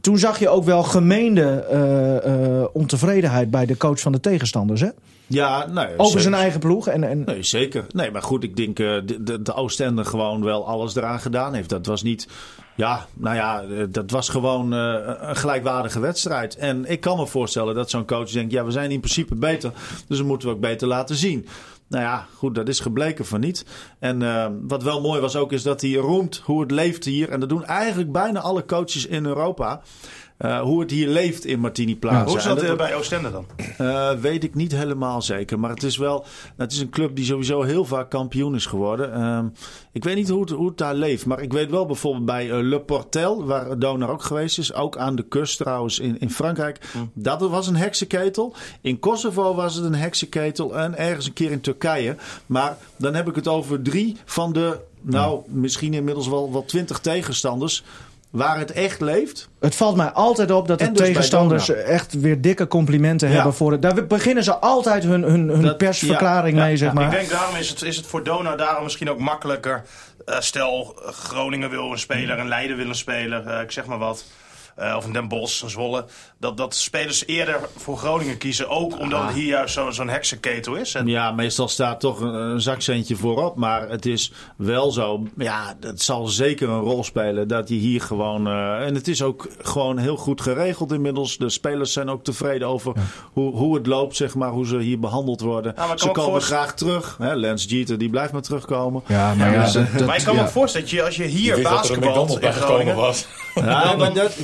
Speaker 2: Toen zag je ook wel gemeende eh, eh, ontevredenheid bij de coach van de tegenstanders, hè?
Speaker 5: Ja, nou, ja,
Speaker 2: Over
Speaker 5: zeker.
Speaker 2: zijn eigen ploeg. En, en,
Speaker 5: Nee, zeker. Nee, maar goed, ik denk eh, de, de, de Oostende gewoon wel alles eraan gedaan heeft. Dat was niet. Ja, nou ja, eh, dat was gewoon eh, een gelijkwaardige wedstrijd. En ik kan me voorstellen dat zo'n coach denkt: ja, we zijn in principe beter, dus dat moeten we ook beter laten zien. Nou ja, goed, dat is gebleken van niet. En eh, wat wel mooi was ook, is dat hij roemt hoe het leeft hier. En dat doen eigenlijk bijna alle coaches in Europa. eh, hoe het hier leeft in Martini Plaza.
Speaker 4: Hoe is dat
Speaker 5: En
Speaker 4: eh, bij Oostende dan?
Speaker 5: eh, weet ik niet helemaal zeker. Maar het is wel. Het is een club die sowieso heel vaak kampioen is geworden. Ehm, ik weet niet hoe het, hoe het daar leeft. Maar ik weet wel bijvoorbeeld bij eh, Le Portel, waar Donar ook geweest is. Ook aan de kust trouwens in, in Frankrijk. Dat was een heksenketel. In Kosovo was het een heksenketel. En ergens een keer in Turkije. Maar dan heb ik het over drie van de. Nou, misschien inmiddels wel, wel twintig tegenstanders. waar het echt leeft.
Speaker 2: Het valt mij altijd op dat de
Speaker 5: En dus bij
Speaker 2: tegenstanders
Speaker 5: Dona.
Speaker 2: echt weer dikke complimenten
Speaker 5: Ja.
Speaker 2: hebben voor het. Daar beginnen ze altijd hun, hun, hun
Speaker 5: Dat-
Speaker 2: persverklaring
Speaker 5: ja,
Speaker 2: mee,
Speaker 5: ja,
Speaker 2: zeg
Speaker 5: ja.
Speaker 2: maar.
Speaker 4: Ik denk daarom is het, is het voor Dona daarom misschien ook makkelijker. Eh, stel, eh, Groningen wil een speler, een Leiden wil een speler, eh, ik zeg maar wat. Eh, of een Den Bosch, een Zwolle. Dat, dat spelers eerder voor Groningen kiezen. Ook omdat
Speaker 5: Ah.
Speaker 4: het hier juist zo- zo'n heksenketel is. En
Speaker 5: Ja, meestal staat toch een, een zakcentje voorop. Maar het is wel zo. Ja, dat zal zeker een rol spelen. Dat je hier gewoon. eh, en het is ook gewoon heel goed geregeld inmiddels. De spelers zijn ook tevreden over hoe, hoe het loopt, zeg maar. Hoe ze hier behandeld worden.
Speaker 4: maar ik kan
Speaker 5: ze
Speaker 4: me
Speaker 5: komen
Speaker 4: voorst-
Speaker 5: graag terug. Hè, Lens Jeter, die blijft maar terugkomen.
Speaker 2: Ja, maar ja,
Speaker 5: dus,
Speaker 2: dat-
Speaker 5: eh,
Speaker 2: dat-
Speaker 4: maar ik kan me
Speaker 5: ja.
Speaker 4: ook voorstellen dat je, als je
Speaker 3: Ik
Speaker 4: hier
Speaker 3: wist dat er een
Speaker 4: basketbalt
Speaker 3: McDonald's bij
Speaker 4: in
Speaker 3: gekomen
Speaker 4: Groningen...
Speaker 3: was.
Speaker 5: Ja, maar dat,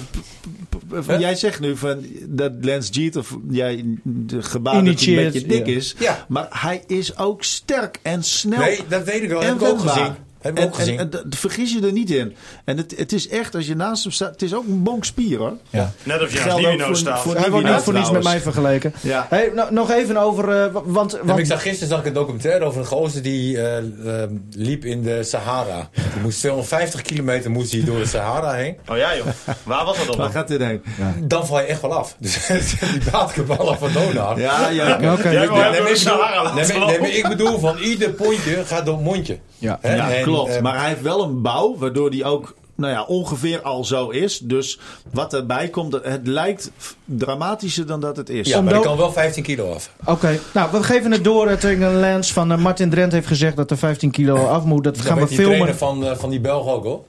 Speaker 5: jij zegt nu van, dat Lance Jeter, jij de gebaar dat hij een
Speaker 2: Initieert,
Speaker 5: beetje dik
Speaker 2: ja.
Speaker 5: is.
Speaker 3: Ja.
Speaker 5: Maar hij is ook sterk en snel.
Speaker 3: Nee, dat weet ik wel.
Speaker 5: en
Speaker 3: Heb ik ook
Speaker 5: wendbaar.
Speaker 3: gezien. Heb ik
Speaker 5: En-
Speaker 3: ook gezien.
Speaker 5: En, en dat- vergis je er niet in. En het, het is echt, als je naast hem staat, het is ook een bonk spier hoor.
Speaker 3: ja.
Speaker 4: Net of je
Speaker 5: Geldt
Speaker 4: naast
Speaker 5: ook
Speaker 4: Nivino
Speaker 5: voor-
Speaker 4: staat.
Speaker 5: voor-
Speaker 2: Hij wordt
Speaker 5: Wie
Speaker 2: niet voor niets met
Speaker 5: trouwens?
Speaker 2: mij vergeleken.
Speaker 5: Ja.
Speaker 2: Hey, nou, nog even over. eh, wa- want,
Speaker 3: En
Speaker 2: want-
Speaker 3: ik zag, gisteren zag ik een documentaire over een gozer die eh, eh, liep in de Sahara. Die moest 250 kilometer moest hij door de Sahara heen.
Speaker 4: Oh ja joh, waar was dat
Speaker 5: Waar
Speaker 4: dan?
Speaker 5: gaat dit heen?
Speaker 3: Dan val je echt wel af. Dus die basketballer van Donar.
Speaker 5: Ja, ja.
Speaker 2: Oké.
Speaker 4: Jij wil
Speaker 3: Nee,
Speaker 4: hebben
Speaker 3: maar
Speaker 4: we de
Speaker 3: ik bedoel-
Speaker 4: Sahara
Speaker 3: nee,
Speaker 4: laten
Speaker 3: maar- nee, maar
Speaker 4: lopen.
Speaker 3: ik bedoel, van ieder pontje gaat door het mondje.
Speaker 2: Ja.
Speaker 3: Hè?
Speaker 5: Ja,
Speaker 3: En,
Speaker 5: klopt.
Speaker 3: eh,
Speaker 5: maar hij heeft wel een bouw waardoor die ook nou ja, ongeveer al zo is. Dus wat erbij komt, het lijkt dramatischer dan dat het is. Nou,
Speaker 3: ja,
Speaker 2: om
Speaker 3: maar
Speaker 2: dood-
Speaker 3: die kan wel 15 kilo af.
Speaker 2: Oké, nou we geven het door eh, tegen een lens van eh, Martin Drent heeft gezegd dat er 15 kilo af moet. Dat
Speaker 3: Dat
Speaker 2: gaan we
Speaker 3: weet die
Speaker 2: filmen.
Speaker 3: trainer van, eh, van die Belg ook hoor.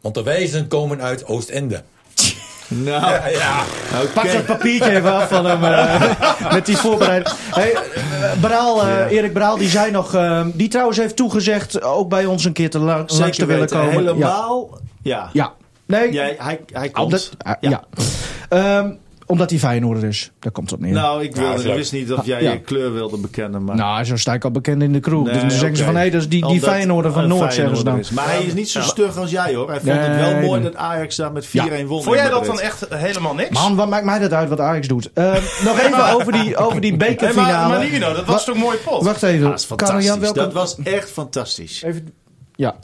Speaker 3: Want de wijzen komen uit Oostende.
Speaker 5: Nou,
Speaker 3: Ja,
Speaker 5: oké.
Speaker 2: Pak dat papiertje even af van hem. eh, met die voorbereiding. Hey, eh, Braal, eh, Erik Braal, die zei nog. eh, die trouwens heeft toegezegd ook bij ons een keer te lang, langs te willen
Speaker 5: weten.
Speaker 2: komen.
Speaker 5: Helemaal. Ja.
Speaker 2: Ja. ja. Nee.
Speaker 5: Jij, hij, hij komt.
Speaker 2: omdat, ah, ja. Ehm, omdat hij Feyenoorder is. Daar komt het op neer.
Speaker 5: Nou, ik, wilde,
Speaker 3: dat is leuk. Ah,
Speaker 5: ik wist niet of jij
Speaker 2: Ja.
Speaker 5: je kleur wilde bekennen. Maar...
Speaker 2: Nou, zo sta ik al bekend in de crew.
Speaker 5: Nee,
Speaker 2: dus dan zeggen ze
Speaker 5: oké.
Speaker 2: van, hé, dat is die, die
Speaker 5: Omdat
Speaker 2: Feyenoorder van
Speaker 5: een
Speaker 2: Noord, zeggen ze
Speaker 5: Feyenoorder
Speaker 2: dan.
Speaker 5: is. Maar hij is niet zo
Speaker 4: Ja.
Speaker 5: stug als jij hoor. Hij vond het
Speaker 2: Nee,
Speaker 5: wel mooi
Speaker 2: nee.
Speaker 5: dat Ajax daar met 4-1 won.
Speaker 4: Vond jij
Speaker 5: in
Speaker 4: dat dan
Speaker 5: Madrid.
Speaker 4: echt helemaal niks?
Speaker 2: Man, wat maakt mij dat uit wat Ajax doet? Ehm, nog even over die, over die
Speaker 4: Hey,
Speaker 2: bekerfinale.
Speaker 4: maar, maar Nivino, dat was
Speaker 2: Wa-
Speaker 4: toch een mooie pot?
Speaker 2: Wacht
Speaker 5: Ja,
Speaker 2: even.
Speaker 5: dat Ah, is
Speaker 2: Karel
Speaker 5: fantastisch.
Speaker 2: Jan, welke...
Speaker 5: Dat was echt fantastisch.
Speaker 2: Even, ja,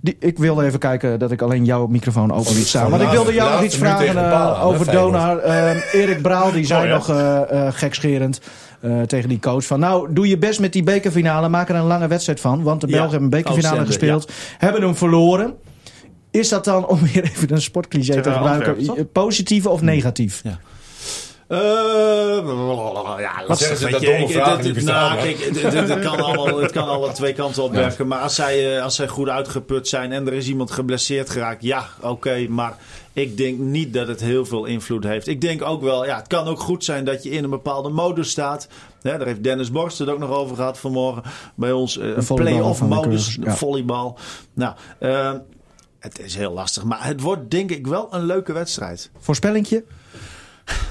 Speaker 2: die, ik wilde even kijken dat ik alleen jouw microfoon open liet staan.
Speaker 3: Van
Speaker 2: Want ik wilde
Speaker 3: laatste-
Speaker 2: jou nog iets
Speaker 3: laatste minuut
Speaker 2: vragen
Speaker 3: tegen de paal
Speaker 2: eh,
Speaker 3: aan, hè,
Speaker 2: over
Speaker 3: Feyenoord.
Speaker 2: Donar. Eh, Erik Braal, die zei
Speaker 4: Mooi, hè?
Speaker 2: nog eh, eh, gekscherend eh, tegen die coach van... Nou, doe je best met die bekerfinale. Maak er een lange wedstrijd van. Want de
Speaker 5: Ja,
Speaker 2: Belgen hebben een bekerfinale
Speaker 5: Oostende,
Speaker 2: gespeeld. Hebben hem verloren. Is dat dan, om weer even een sportcliché te
Speaker 4: Tegen
Speaker 2: gebruiken...
Speaker 4: Antwerpen,
Speaker 2: positief of negatief?
Speaker 5: Eh, ja,
Speaker 2: Ah,
Speaker 3: Wat zeggen ze dat domme vragen die bestaan,
Speaker 5: nou,
Speaker 3: hè?
Speaker 5: kijk, het- het- het kan allemaal- Het kan alle twee kanten op werken. Maar als zij, eh, als zij goed uitgeput zijn en er is iemand geblesseerd geraakt, ja, oké. maar ik denk niet dat het heel veel invloed heeft. Ik denk ook wel, ja, het kan ook goed zijn dat je in een bepaalde modus staat. Hè, daar heeft Dennis Borst het ook nog over gehad vanmorgen bij ons. eh, een
Speaker 2: volleybal
Speaker 5: play-off
Speaker 2: van de
Speaker 5: modus,
Speaker 2: Cursus, ja.
Speaker 5: volleybal. Nou, eh, het is heel lastig. Maar het wordt denk ik wel een leuke wedstrijd.
Speaker 2: Voorspellingje?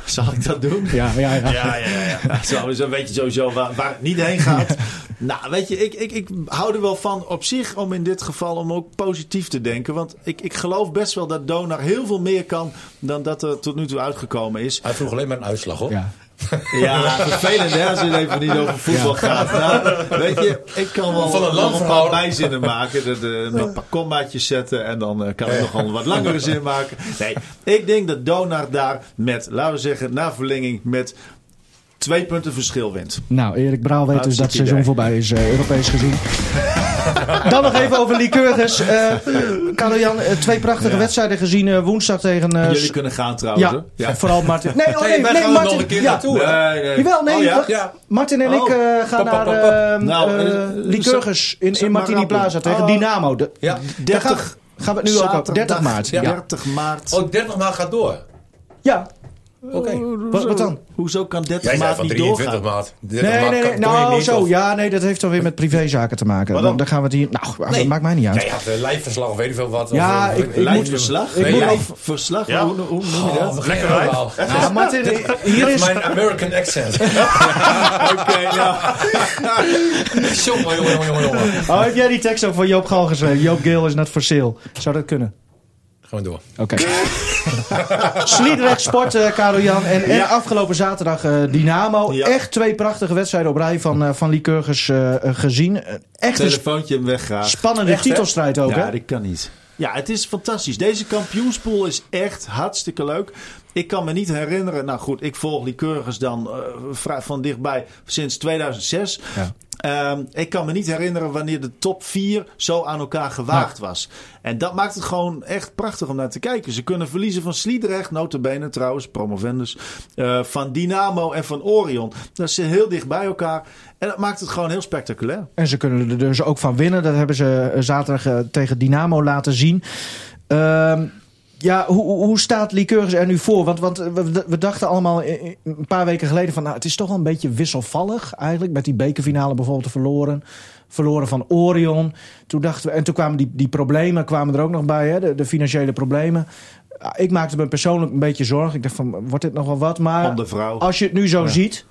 Speaker 5: Zal ik dat doen?
Speaker 2: Ja, ja, ja.
Speaker 4: Ja, ja, ja. ja.
Speaker 5: Ja, Zo, zo weet je sowieso waar, waar het niet heen gaat. Nou, weet je, ik, ik, ik hou er wel van op zich om in dit geval om ook positief te denken. Want ik, ik geloof best wel dat Donar heel veel meer kan dan dat er tot nu toe uitgekomen is.
Speaker 3: Hij vroeg alleen maar een uitslag hoor.
Speaker 2: Ja.
Speaker 5: Ja, vervelend hè, als het even niet over voetbal gaat. Nou, weet je, ik kan wel
Speaker 3: Van een lang
Speaker 5: nog een paar
Speaker 3: verhaal.
Speaker 5: bijzinnen maken. Dat, eh, met een paar kommaatjes zetten en dan eh, kan ik nog een wat langere zin maken. Nee, ik denk dat Donar daar met, laten we zeggen, na verlenging met twee punten verschil wint.
Speaker 2: Nou, Erik Braal weet dus
Speaker 5: Hartstikke
Speaker 2: dat het seizoen
Speaker 5: idee.
Speaker 2: voorbij is, eh, Europees gezien. Dan nog even over Lycurgus. Eh Karel-Jan, eh, twee prachtige
Speaker 5: Ja.
Speaker 2: wedstrijden gezien eh, woensdag tegen... eh,
Speaker 5: Jullie
Speaker 2: S-
Speaker 5: kunnen gaan trouwens.
Speaker 2: ja,
Speaker 5: hè?
Speaker 2: vooral Martin. Nee, oh,
Speaker 3: Hey,
Speaker 2: nee,
Speaker 3: wij
Speaker 2: nee
Speaker 3: gaan er
Speaker 2: Martin.
Speaker 3: nog een keer
Speaker 2: ja.
Speaker 3: naartoe.
Speaker 5: Nee, nee.
Speaker 2: Jawel, nee.
Speaker 5: Oh, ja?
Speaker 2: wacht.
Speaker 3: Ja.
Speaker 2: Martin en ik
Speaker 5: Oh.
Speaker 2: eh, gaan
Speaker 3: Pap,
Speaker 2: naar
Speaker 3: pap, pap,
Speaker 2: eh
Speaker 3: pap.
Speaker 5: Nou,
Speaker 2: eh,
Speaker 5: eh,
Speaker 2: Lycurgus in, in
Speaker 5: Zet maar
Speaker 2: Martini
Speaker 5: aan,
Speaker 2: Plaza tegen
Speaker 5: Oh.
Speaker 2: Dynamo. De,
Speaker 3: Ja.
Speaker 2: daar gaan,
Speaker 5: 30
Speaker 2: gaan we het nu ook over. 30 maart. Ja.
Speaker 5: Ja.
Speaker 2: ja.
Speaker 5: 30 maart.
Speaker 3: Oh, 30 maart gaat door.
Speaker 2: Oh,
Speaker 3: Oké.
Speaker 2: Wat, wat dan?
Speaker 5: Hoezo kan 30
Speaker 3: Jij zei
Speaker 5: maart
Speaker 3: van
Speaker 5: niet
Speaker 3: 23
Speaker 5: doorgaan?
Speaker 3: maart. 30
Speaker 2: Nee,
Speaker 3: maart
Speaker 2: nee,
Speaker 3: kan-
Speaker 2: nee.
Speaker 3: kon je
Speaker 2: Nou,
Speaker 3: niet,
Speaker 2: zo.
Speaker 3: of-
Speaker 2: Ja, nee, dat heeft dan weer met privézaken te maken. Dan,
Speaker 4: dan?
Speaker 2: dan gaan we het hier... Nou,
Speaker 3: Nee.
Speaker 2: maakt mij niet uit.
Speaker 3: Jij had eh, lijfverslag of weet ik veel wat.
Speaker 2: Ja,
Speaker 3: of,
Speaker 2: ik- ik moet-
Speaker 5: Lijfverslag?
Speaker 2: ik moet-
Speaker 5: Lijfverslag?
Speaker 4: Ja.
Speaker 5: Hoe, hoe noem je dat?
Speaker 3: Oh, Lekker uit.
Speaker 2: Ja, Nou, Martin, hier
Speaker 3: Dat is
Speaker 2: is...
Speaker 3: mijn American accent.
Speaker 5: Oké, nou.
Speaker 3: jongen, jongen, jongen, jongen.
Speaker 2: Oh, heb jij die tekst ook van Joop Gal geschreven? Joop Geel is not for sale. Zou dat kunnen?
Speaker 3: Gewoon door.
Speaker 2: Oké. Sliedrecht Sport, eh Karel Jan. En, en afgelopen zaterdag eh, Dynamo.
Speaker 5: Ja.
Speaker 2: Echt twee prachtige wedstrijden op rij van, eh van Lycurgus eh, eh, gezien. Eh, Echt een sp-
Speaker 5: Telefoontje hem weg graag.
Speaker 2: spannende titelstrijd ook,
Speaker 5: Ja,
Speaker 2: hè?
Speaker 5: dat kan niet. Ja, het is fantastisch. Deze kampioenspool is echt hartstikke leuk. Ik kan me niet herinneren. Nou goed, ik volg Lycurgus dan eh, vrij van dichtbij sinds 2006.
Speaker 2: Ja.
Speaker 5: Ehm, ik kan me niet herinneren wanneer de top 4 zo aan elkaar gewaagd was. En dat maakt het gewoon echt prachtig om naar te kijken. Ze kunnen verliezen van Sliedrecht, notabene trouwens, promovendus. eh, van Dynamo en van Orion. Dat ze heel dicht bij elkaar. En dat maakt het gewoon heel spectaculair.
Speaker 2: En ze kunnen er dus ook van winnen. Dat hebben ze eh, zaterdag eh, tegen Dynamo laten zien. Ehm, ja, hoe, hoe hoe staat Lycurgus er nu voor? Want, want eh, we, we dachten allemaal eh, eh, een paar weken geleden van... Nou, het is toch wel een beetje wisselvallig eigenlijk. Met die bekerfinale bijvoorbeeld verloren. Verloren van Orion. Toen dachten we, en toen kwamen die, die problemen kwamen er ook nog bij. Hè? De, de financiële problemen. Ah, Ik maakte me persoonlijk een beetje zorgen. Ik dacht van, wordt dit nog wel wat? Maar
Speaker 5: Om de vrouw.
Speaker 2: als je het nu zo ziet...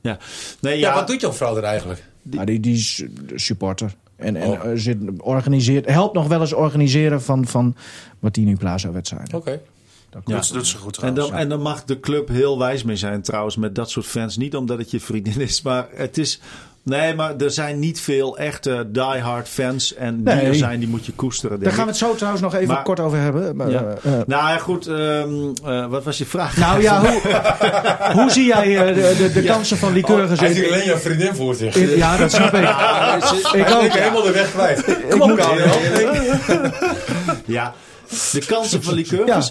Speaker 5: Ja. Nee,
Speaker 3: Ja,
Speaker 5: ja,
Speaker 3: wat doet jouw vrouw er eigenlijk?
Speaker 5: Die-
Speaker 2: Die, die, die is eh, supporter. En, en
Speaker 3: Oh.
Speaker 2: eh, zit, organiseert, helpt nog wel eens organiseren van, van wat die nu plaza wedstrijden.
Speaker 3: Oké.
Speaker 5: ja.
Speaker 4: Dat doet ze goed
Speaker 5: En
Speaker 4: trouwens.
Speaker 5: dan, en dan mag de club heel wijs mee zijn trouwens met dat soort fans. Niet omdat het je vriendin is, maar het is... Nee, maar er zijn niet veel echte diehard fans. En die
Speaker 2: Nee.
Speaker 5: er zijn, die moet je koesteren.
Speaker 2: Daar
Speaker 5: Denk
Speaker 2: gaan we
Speaker 5: ik.
Speaker 2: het zo trouwens nog even
Speaker 5: Maar-
Speaker 2: kort over hebben. Maar,
Speaker 5: Ja.
Speaker 2: eh, eh,
Speaker 5: Nou ja, goed. ehm, eh, wat was je vraag?
Speaker 2: nou ja, hoe, hoe zie jij eh, de, de, de kansen van Lycurgus
Speaker 3: Oh, Hij
Speaker 2: in-
Speaker 3: ziet alleen jouw vriendin voor zich.
Speaker 2: in- Ja, dat snap ik. Ik
Speaker 3: Hij
Speaker 2: ook.
Speaker 3: denkt helemaal de weg kwijt. Kom op,
Speaker 2: moet-
Speaker 3: Gabriel.
Speaker 5: Ja, de kansen van Lycurgus.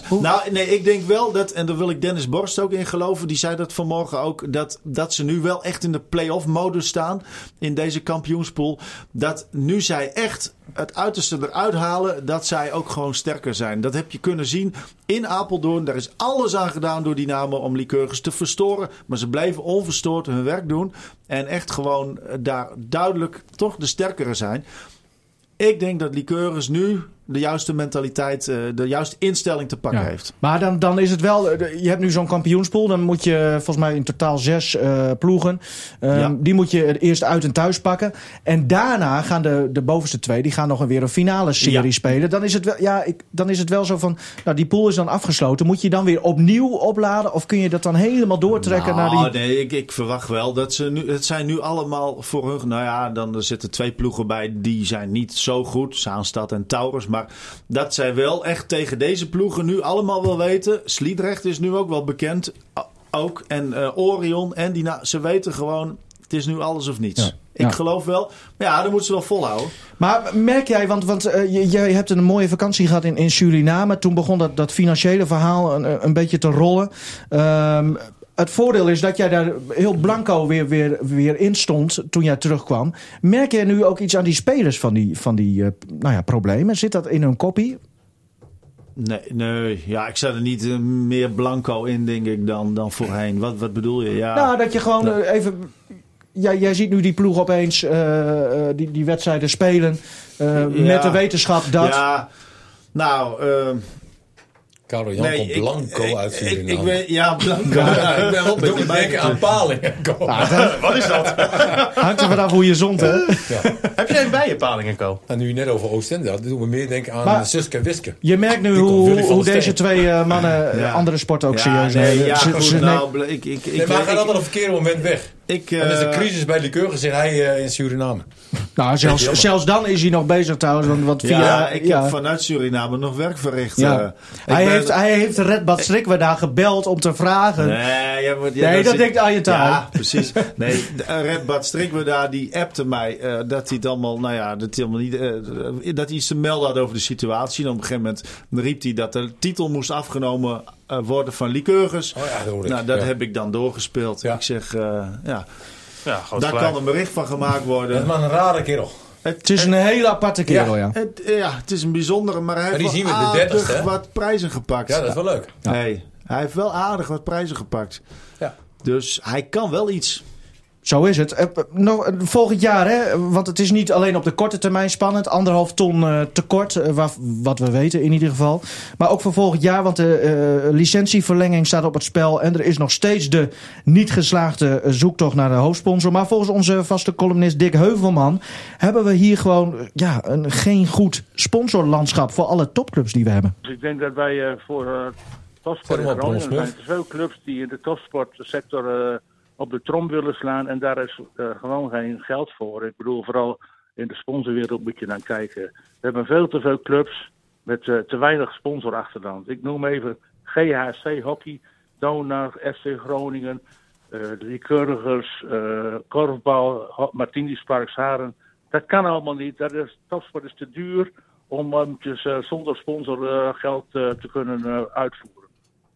Speaker 2: Ja, hoe-
Speaker 5: Nou, nee, ik denk wel dat, en daar wil ik Dennis Borst ook in geloven. Die zei dat vanmorgen ook, dat, dat ze nu wel echt in de play-off-modus staan. In deze kampioenspool. Dat nu zij echt het uiterste eruit halen, dat zij ook gewoon sterker zijn. Dat heb je kunnen zien in Apeldoorn. Daar is alles aan gedaan door Dynamo om Lycurgus te verstoren. Maar ze bleven onverstoord hun werk doen. En echt gewoon eh, daar duidelijk toch de sterkere zijn. Ik denk dat Lycurgus nu de juiste mentaliteit, eh, de juiste instelling te pakken
Speaker 2: Ja.
Speaker 5: heeft.
Speaker 2: Maar dan, dan is het wel, eh, de- je hebt nu zo'n kampioenspool. Dan moet je eh, volgens mij in totaal zes eh, ploegen. Ehm,
Speaker 5: Ja.
Speaker 2: Die moet je eerst uit en thuis pakken. En daarna gaan de, de bovenste twee, die gaan nog een weer een finale serie
Speaker 5: Ja.
Speaker 2: spelen. Dan is, het wel, ja, ik, dan is het wel zo van, nou die pool is dan afgesloten. Moet je dan weer opnieuw opladen? Of kun je dat dan helemaal doortrekken
Speaker 5: nou,
Speaker 2: naar die...
Speaker 5: Nee, ik, ik verwacht wel dat ze nu. Het zijn nu allemaal voor hun. Nou ja, dan er zitten twee ploegen bij. Die zijn niet zo goed. Zaanstad en Taurus. Maar dat zij wel echt tegen deze ploegen nu allemaal wel weten. Sliedrecht is nu ook wel bekend. o- Ook. En eh, Orion. En die, nou, ze weten gewoon. Het is nu alles of niets.
Speaker 2: Ja.
Speaker 5: Ik
Speaker 2: Ja.
Speaker 5: geloof wel. Maar ja, dan moeten ze wel volhouden.
Speaker 2: Maar merk jij, want, want eh, je, jij hebt een mooie vakantie gehad in, in Suriname. Toen begon dat, dat financiële verhaal een, een beetje te rollen. Ehm, het voordeel is dat jij daar heel blanco weer, weer, weer in stond toen jij terugkwam. Merk jij nu ook iets aan die spelers van die, van die eh, nou ja, problemen? Zit dat in hun kopie?
Speaker 5: Nee, nee, ja, ik sta er niet eh, meer blanco in, denk ik, dan, dan voorheen. Wat, wat bedoel je? Ja,
Speaker 2: Nou, dat je gewoon
Speaker 5: Ja.
Speaker 2: eh, even... Jij, jij ziet nu die ploeg opeens eh, eh, die, die wedstrijden spelen. eh, Met de wetenschap dat...
Speaker 5: Ja, nou, ehm,
Speaker 3: Karel Jan
Speaker 5: nee,
Speaker 3: komt
Speaker 5: ik-
Speaker 3: blanco
Speaker 5: ik-
Speaker 3: uit
Speaker 5: ik, ik,
Speaker 3: Suriname.
Speaker 5: weet, ja, blanco.
Speaker 3: ik ben wel een beetje denken aan Palingenko.
Speaker 4: Wat is dat?
Speaker 2: Hangt er vanaf hoe je zond, hè?
Speaker 4: Heb jij een bijenpaling, Co?
Speaker 3: En Nou, nu je net over Oostende had, doen we meer denken aan
Speaker 2: Maar-
Speaker 3: Suske en Wiske.
Speaker 2: Je merkt nu
Speaker 3: Die komt
Speaker 2: hoe,
Speaker 3: Willy van
Speaker 2: hoe
Speaker 3: der
Speaker 2: deze
Speaker 3: Steen.
Speaker 2: twee eh, mannen eh,
Speaker 5: Ja.
Speaker 2: andere sporten ook
Speaker 5: Ja,
Speaker 2: serieus
Speaker 5: nee,
Speaker 2: nemen.
Speaker 5: ja,
Speaker 2: Ze-
Speaker 5: goed,
Speaker 2: ze-
Speaker 5: nou, bl- ik, ik,
Speaker 3: Nee,
Speaker 5: ik,
Speaker 3: maar hij gaat
Speaker 5: ik-
Speaker 3: altijd op een verkeerde moment weg.
Speaker 5: ik,
Speaker 3: Dan is de
Speaker 5: eh,
Speaker 3: crisis bij Liqueur gezegd, hij eh, in Suriname.
Speaker 2: nou, zelfs,
Speaker 3: jammer.
Speaker 2: zelfs dan is hij nog bezig trouwens. Want, want via,
Speaker 5: Ja, ik heb vanuit Suriname nog werk verricht.
Speaker 2: ja.
Speaker 5: eh. Ik
Speaker 2: hij,
Speaker 5: ben-
Speaker 2: heeft, hij heeft Red Bad Strikwe daar gebeld om te vragen.
Speaker 5: Nee, ja, maar- ja,
Speaker 2: Eh, Nee,
Speaker 5: dan
Speaker 2: dat
Speaker 5: zit-
Speaker 2: denkt Arjen Taal.
Speaker 5: Ja, precies. Nee, de- eh, Red Bad Strikweda daar, die appte mij eh, dat hij het allemaal, nou ja, dat hij helemaal niet, eh, dat hij iets te melden had over de situatie. En op een gegeven moment riep hij dat de titel moest afgenomen eh, worden van Lycurgus.
Speaker 3: Oh ja, dat hoorde ik.
Speaker 5: nou, dat
Speaker 3: Ja.
Speaker 5: heb ik dan doorgespeeld.
Speaker 3: Ja.
Speaker 5: Ik zeg, eh, ja,
Speaker 4: Ja, groot
Speaker 5: daar
Speaker 4: gelijk.
Speaker 5: kan een bericht van gemaakt
Speaker 3: Dat is
Speaker 5: worden.
Speaker 3: maar een rare kerel.
Speaker 2: Het is een hele aparte kerel, ja.
Speaker 5: Het, eh, ja, het is een bijzondere, maar hij
Speaker 3: Maar
Speaker 5: heeft
Speaker 3: die
Speaker 5: wel
Speaker 3: zien we de
Speaker 5: aardig
Speaker 3: 30ste, hè?
Speaker 5: wat prijzen gepakt.
Speaker 3: Ja, dat is wel leuk.
Speaker 5: Nee, hij heeft wel aardig wat prijzen gepakt.
Speaker 3: Ja.
Speaker 5: Dus hij kan wel iets.
Speaker 2: Zo is het. Eh, nog, eh, volgend jaar, hè, want het is niet alleen op de korte termijn spannend. Anderhalf ton eh, tekort, eh, waar- wat we weten in ieder geval. Maar ook voor volgend jaar, want de eh, licentieverlenging staat op het spel. En er is nog steeds de niet geslaagde eh, zoektocht naar de hoofdsponsor. Maar volgens onze vaste columnist Dick Heuvelman... hebben we hier gewoon eh, ja, een, geen goed sponsorlandschap voor alle topclubs die we hebben.
Speaker 6: Dus ik denk dat wij eh, voor eh
Speaker 3: Zet
Speaker 6: topsport
Speaker 3: hem
Speaker 6: in
Speaker 3: op,
Speaker 6: Groningen
Speaker 3: Ron Smith.
Speaker 6: zijn er veel clubs die in de topsportsector eh, op de trom willen slaan. En daar is eh, gewoon geen geld voor. Ik bedoel, vooral in de sponsorwereld moet je dan kijken. We hebben veel te veel clubs met eh, te weinig sponsorachterstand. Ik noem even GHC Hockey, Donar, FC Groningen, eh de Keurigers, eh, korfbal, Ho- Martini's Park Haren. Dat kan allemaal niet. Dat is, topsport is te duur om hem dus, eh, zonder sponsorgeld te kunnen eh, uitvoeren.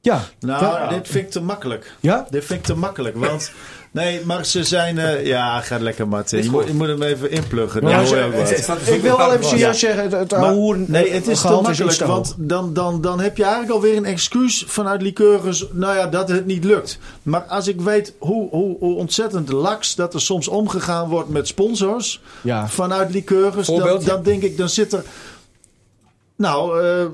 Speaker 2: Ja,
Speaker 5: Nou,
Speaker 2: Ja.
Speaker 5: dit vind ik te makkelijk.
Speaker 2: Ja?
Speaker 5: Dit vind ik te makkelijk, want... Nee, maar ze zijn... eh, ja, ga lekker, Martin. Je moet, je moet hem even inpluggen. Dan
Speaker 2: Ja,
Speaker 5: hoor je ook
Speaker 3: Het-
Speaker 5: wat.
Speaker 3: het staat dus
Speaker 2: ik
Speaker 3: op
Speaker 2: wil
Speaker 3: een
Speaker 2: wel even
Speaker 3: bepaalde-
Speaker 2: serieus zeggen, het, het oude
Speaker 5: Maar-
Speaker 2: hoer-
Speaker 5: nee, het is te
Speaker 2: gehalte iets
Speaker 5: makkelijk,
Speaker 2: hoog.
Speaker 5: want dan, dan, dan heb je eigenlijk alweer een excuus vanuit Liqueurs, nou ja, dat het niet lukt. Maar als ik weet hoe, hoe, hoe ontzettend laks dat er soms omgegaan wordt met sponsors
Speaker 2: Ja.
Speaker 5: vanuit Liqueurs, dan,
Speaker 3: Voorbeeld?
Speaker 5: dan denk ik, dan zit er... Nou, eh,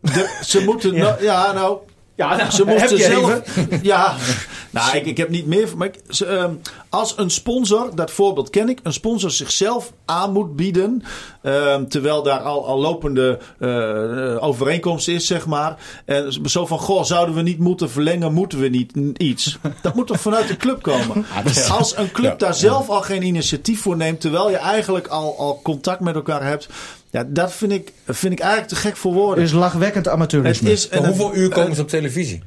Speaker 5: de- ze moeten... Ja, nou, ja nou... ze
Speaker 2: heb
Speaker 5: moesten
Speaker 2: je
Speaker 5: zelf. Ja, nou, ik, ik heb niet meer. Maar ik- ze, ehm, als een sponsor, dat voorbeeld ken ik, een sponsor zichzelf aan moet bieden. ehm, terwijl daar al, al lopende eh, eh, overeenkomst is, zeg maar. En zo van: Goh, zouden we niet moeten verlengen? Moeten we niet n- iets? Dat moet toch vanuit de club komen? Als een club daar zelf al geen initiatief voor neemt, terwijl je eigenlijk al, al contact met elkaar hebt. Ja, dat vind ik, vind ik eigenlijk te gek voor woorden.
Speaker 2: is lachwekkend
Speaker 5: het
Speaker 2: amateurisme.
Speaker 5: is,
Speaker 3: Maar
Speaker 5: en het-
Speaker 3: hoeveel uur komen ze op televisie?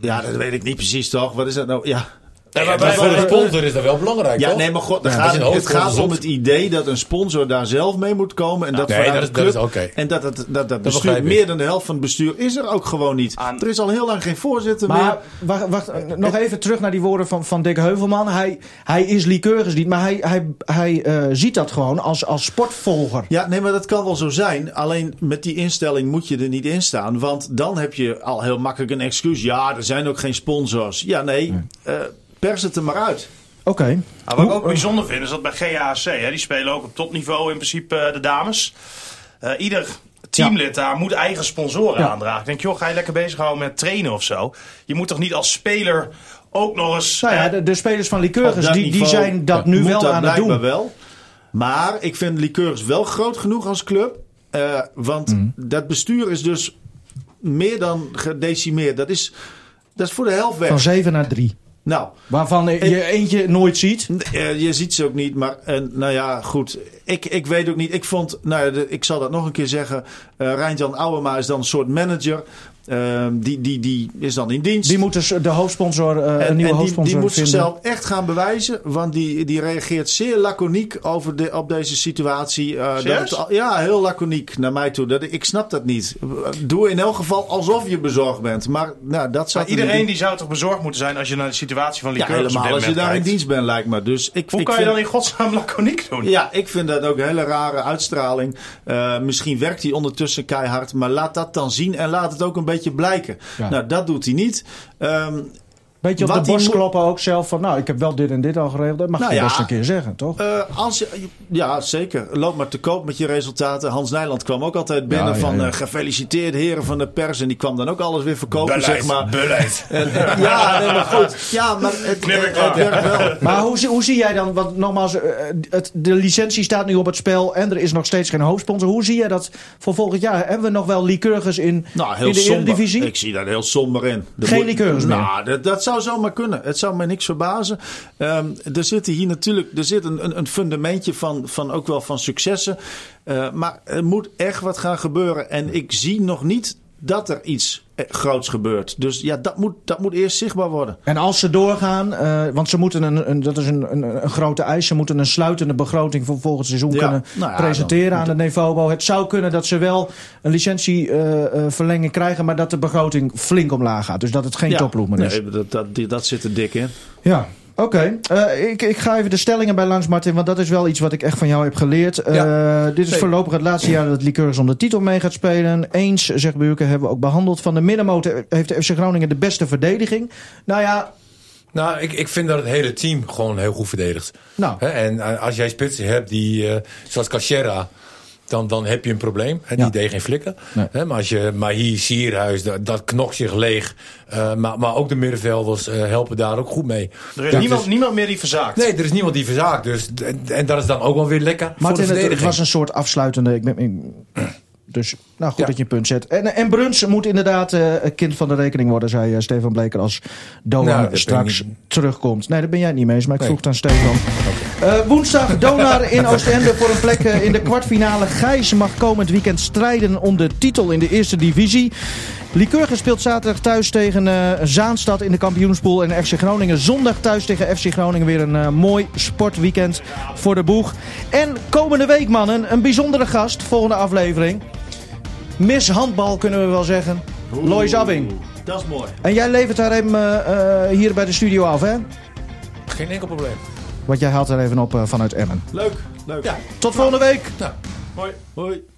Speaker 5: ja, dat weet ik niet precies toch? Wat is dat nou? Ja,
Speaker 3: maar
Speaker 5: maar-
Speaker 3: voor de sponsor is dat wel belangrijk,
Speaker 5: ja
Speaker 3: toch?
Speaker 5: nee, maar god,
Speaker 3: Ja,
Speaker 5: daar
Speaker 3: dat is
Speaker 5: gaat,
Speaker 3: een
Speaker 5: het gaat om
Speaker 3: hoofdsponsor.
Speaker 5: het idee dat een sponsor daar zelf mee moet komen. En dat
Speaker 3: nee,
Speaker 5: vanuit
Speaker 3: dat is-
Speaker 5: de
Speaker 3: dat is
Speaker 5: club.
Speaker 3: oké.
Speaker 5: En dat, dat, dat, dat, bestuur,
Speaker 3: begrijp ik.
Speaker 5: meer dan de helft van het bestuur is er ook gewoon niet.
Speaker 4: Aan-
Speaker 5: Er is al heel lang geen voorzitter
Speaker 2: Maar
Speaker 5: meer.
Speaker 2: wacht, wacht, eh, nog even terug naar die woorden van, van Dick Heuvelman. Hij, hij is liqueurs niet, maar hij, hij, hij eh, ziet dat gewoon als, als sportvolger.
Speaker 5: Ja, nee, maar dat kan wel zo zijn. Alleen met die instelling moet je er niet in staan. Want dan heb je al heel makkelijk een excuus. Ja, er zijn ook geen sponsors. Ja, nee, eh, pers het er maar uit.
Speaker 2: Oké.
Speaker 4: Maar Nou, wat ik ook bijzonder vind is dat bij GHC, hè, die spelen ook op topniveau in principe eh, de dames. Eh, ieder teamlid daar moet eigen sponsoren
Speaker 2: Ja.
Speaker 4: aandragen. Ik denk, joh, ga je lekker bezighouden met trainen of zo? Je moet toch niet als speler ook nog eens...
Speaker 2: Nou ja,
Speaker 4: eh,
Speaker 2: de, de spelers van
Speaker 5: Op
Speaker 2: liqueurs
Speaker 5: dat
Speaker 2: die, die
Speaker 5: niveau
Speaker 2: zijn dat nu
Speaker 5: moet
Speaker 2: wel
Speaker 5: dat
Speaker 2: aan het doen.
Speaker 5: blijkbaar wel. Maar ik vind Liqueurs wel groot genoeg als club. eh, want
Speaker 2: Mm.
Speaker 5: dat bestuur is dus meer dan gedecimeerd. Dat is, dat is voor de helft weg.
Speaker 2: Van 7 naar 3.
Speaker 5: Nou,
Speaker 2: Waarvan eh, je eentje nooit ziet.
Speaker 5: eh, je ziet ze ook niet. Maar eh, nou ja, goed. Ik, ik weet ook niet. Ik vond, nou ja, de- ik zal dat nog een keer zeggen. Eh Rijntjan Ouwema is dan een soort manager. Eh, die, die, die is dan in dienst.
Speaker 2: Die moet dus de hoofdsponsor, eh, een
Speaker 5: En-
Speaker 2: nieuwe
Speaker 5: en die,
Speaker 2: hoofdsponsor
Speaker 5: die moet
Speaker 2: vinden.
Speaker 5: zichzelf echt gaan bewijzen, want die, die reageert zeer laconiek over de, op deze situatie. Eh, dat
Speaker 4: Serieus?
Speaker 5: het al- ja, heel laconiek naar mij toe. Dat, ik snap dat niet. Doe in elk geval alsof je bezorgd bent. Maar nou, dat
Speaker 4: maar
Speaker 5: zou
Speaker 4: iedereen die zou toch bezorgd moeten zijn als je naar de situatie van
Speaker 5: ja,
Speaker 4: Liqueurs op dit
Speaker 5: helemaal als je
Speaker 4: moment
Speaker 5: daar in
Speaker 4: kijkt.
Speaker 5: dienst bent, lijkt me. Dus ik,
Speaker 4: Hoe
Speaker 5: ik
Speaker 4: kan
Speaker 5: vind-
Speaker 4: je dan in godsnaam laconiek doen?
Speaker 5: ja, ik vind dat ook een hele rare uitstraling. Eh, misschien werkt hij ondertussen keihard, maar laat dat dan zien en laat het ook een beetje blijken.
Speaker 2: Ja.
Speaker 5: Nou, dat doet hij niet. Ehm,
Speaker 2: Beetje op
Speaker 5: Wat
Speaker 2: de
Speaker 5: die
Speaker 2: borst
Speaker 5: moet-
Speaker 2: kloppen ook zelf van, nou, ik heb wel dit en dit al geregeld. Dat mag
Speaker 5: Nou
Speaker 2: je
Speaker 5: ja.
Speaker 2: best een keer zeggen, toch?
Speaker 5: Eh, als je, ja, zeker. Loop maar te koop met je resultaten. Hans Nijland kwam ook altijd binnen
Speaker 2: Ja, ja,
Speaker 5: van
Speaker 2: ja.
Speaker 5: eh, gefeliciteerd heren van de pers. En die kwam dan ook alles weer verkopen,
Speaker 4: Beleid,
Speaker 5: zeg maar.
Speaker 4: beleid.
Speaker 5: En, eh, ja, nee, maar goed. Ja, maar het, eh,
Speaker 4: Knipper
Speaker 5: het, het
Speaker 4: klaar.
Speaker 5: werkt wel.
Speaker 2: Maar hoe, zie- hoe zie jij dan, want nogmaals, eh, het, de licentie staat nu op het spel en er is nog steeds geen hoofdsponsor. Hoe zie jij dat voor volgend jaar? Hebben we nog wel liqueurs in,
Speaker 5: Nou, heel
Speaker 2: in de
Speaker 5: somber.
Speaker 2: Eredivisie?
Speaker 5: Ik zie daar heel somber in. Er
Speaker 2: Geen
Speaker 5: moet-
Speaker 2: liqueurs
Speaker 5: Nou, dat, dat zou zomaar kunnen. Het zou mij niks verbazen. Ehm, er zit hier natuurlijk er zit een, een, een fundamentje van, van ook wel van successen. Eh, maar er moet echt wat gaan gebeuren. En ik zie nog niet dat er iets eh, groots gebeurt. Dus ja, dat moet, dat moet eerst zichtbaar worden.
Speaker 2: En als ze doorgaan, eh, want ze moeten een, een dat is een, een, een grote eis, ze moeten een sluitende begroting voor volgend seizoen
Speaker 5: Ja,
Speaker 2: kunnen
Speaker 5: nou ja,
Speaker 2: presenteren
Speaker 5: dan-
Speaker 2: aan het Nevobo. Het zou kunnen dat ze wel een licentieverlenging krijgen, maar dat de begroting flink omlaag gaat. Dus dat het geen
Speaker 5: ja.
Speaker 2: topploeg meer is.
Speaker 5: Nee, dat, dat, die- dat zit er dik in.
Speaker 2: Ja, oké. Eh, ik, ik ga even de stellingen bij langs, Martin. Want dat is wel iets wat ik echt van jou heb geleerd. Eh, dit is voorlopig het laatste jaar dat Liqueurs om de titel mee gaat spelen. Eens, zegt Buurke, hebben we ook behandeld. Van de middenmoot heeft de FC Groningen de beste verdediging. Nou ja,
Speaker 3: Nou, ik, ik vind dat het hele team gewoon heel goed verdedigt.
Speaker 2: Nou.
Speaker 3: Hè, en eh, als jij spitsen hebt die, eh, zoals Cachera, dan, dan heb je een probleem. En
Speaker 2: Ja.
Speaker 3: die deed geen flikken. Hè, maar als je Mahi, Sierhuis, dat, dat knokt zich leeg. Eh, maar, maar ook de middenvelders eh, helpen daar ook goed mee.
Speaker 4: Er is
Speaker 3: Dat
Speaker 4: niemand, niemand meer die verzaakt.
Speaker 3: Nee, er is niemand die verzaakt. Dus, en, en dat is dan ook wel weer lekker voor de
Speaker 2: Martin, het, het
Speaker 3: verdediging.
Speaker 2: was een soort afsluitende... Ik ben, ik- Dus nou, goed
Speaker 3: Ja.
Speaker 2: dat je een punt zet. En, en Bruns moet inderdaad eh, kind van de rekening worden, zei eh, Stefan Bleker. Als Doan
Speaker 3: Nou, dat ben
Speaker 2: straks
Speaker 3: ik niet.
Speaker 2: terugkomt. Nee, daar ben jij het niet mee eens, maar ik
Speaker 3: Nee.
Speaker 2: vroeg het aan Stefan. Eh, woensdag Donar in Oostende voor een plek eh, in de kwartfinale. Gijs mag komend weekend strijden om de titel in de eerste divisie. Lycurgus speelt zaterdag thuis tegen eh, Zaanstad in de kampioenspool. En FC Groningen zondag thuis tegen FC Groningen. Weer een eh, mooi sportweekend voor de boeg. En komende week, mannen, een bijzondere gast. Volgende aflevering. Miss handbal kunnen we wel zeggen. Lois Abing.
Speaker 5: Dat is mooi.
Speaker 2: En jij levert haar hem eh, eh, hier bij de studio af, hè?
Speaker 3: Geen enkel probleem.
Speaker 2: Want jij haalt er even op eh, vanuit Emmen.
Speaker 5: Leuk, leuk.
Speaker 3: Ja.
Speaker 2: Tot volgende week!
Speaker 5: Hoi. Hoi.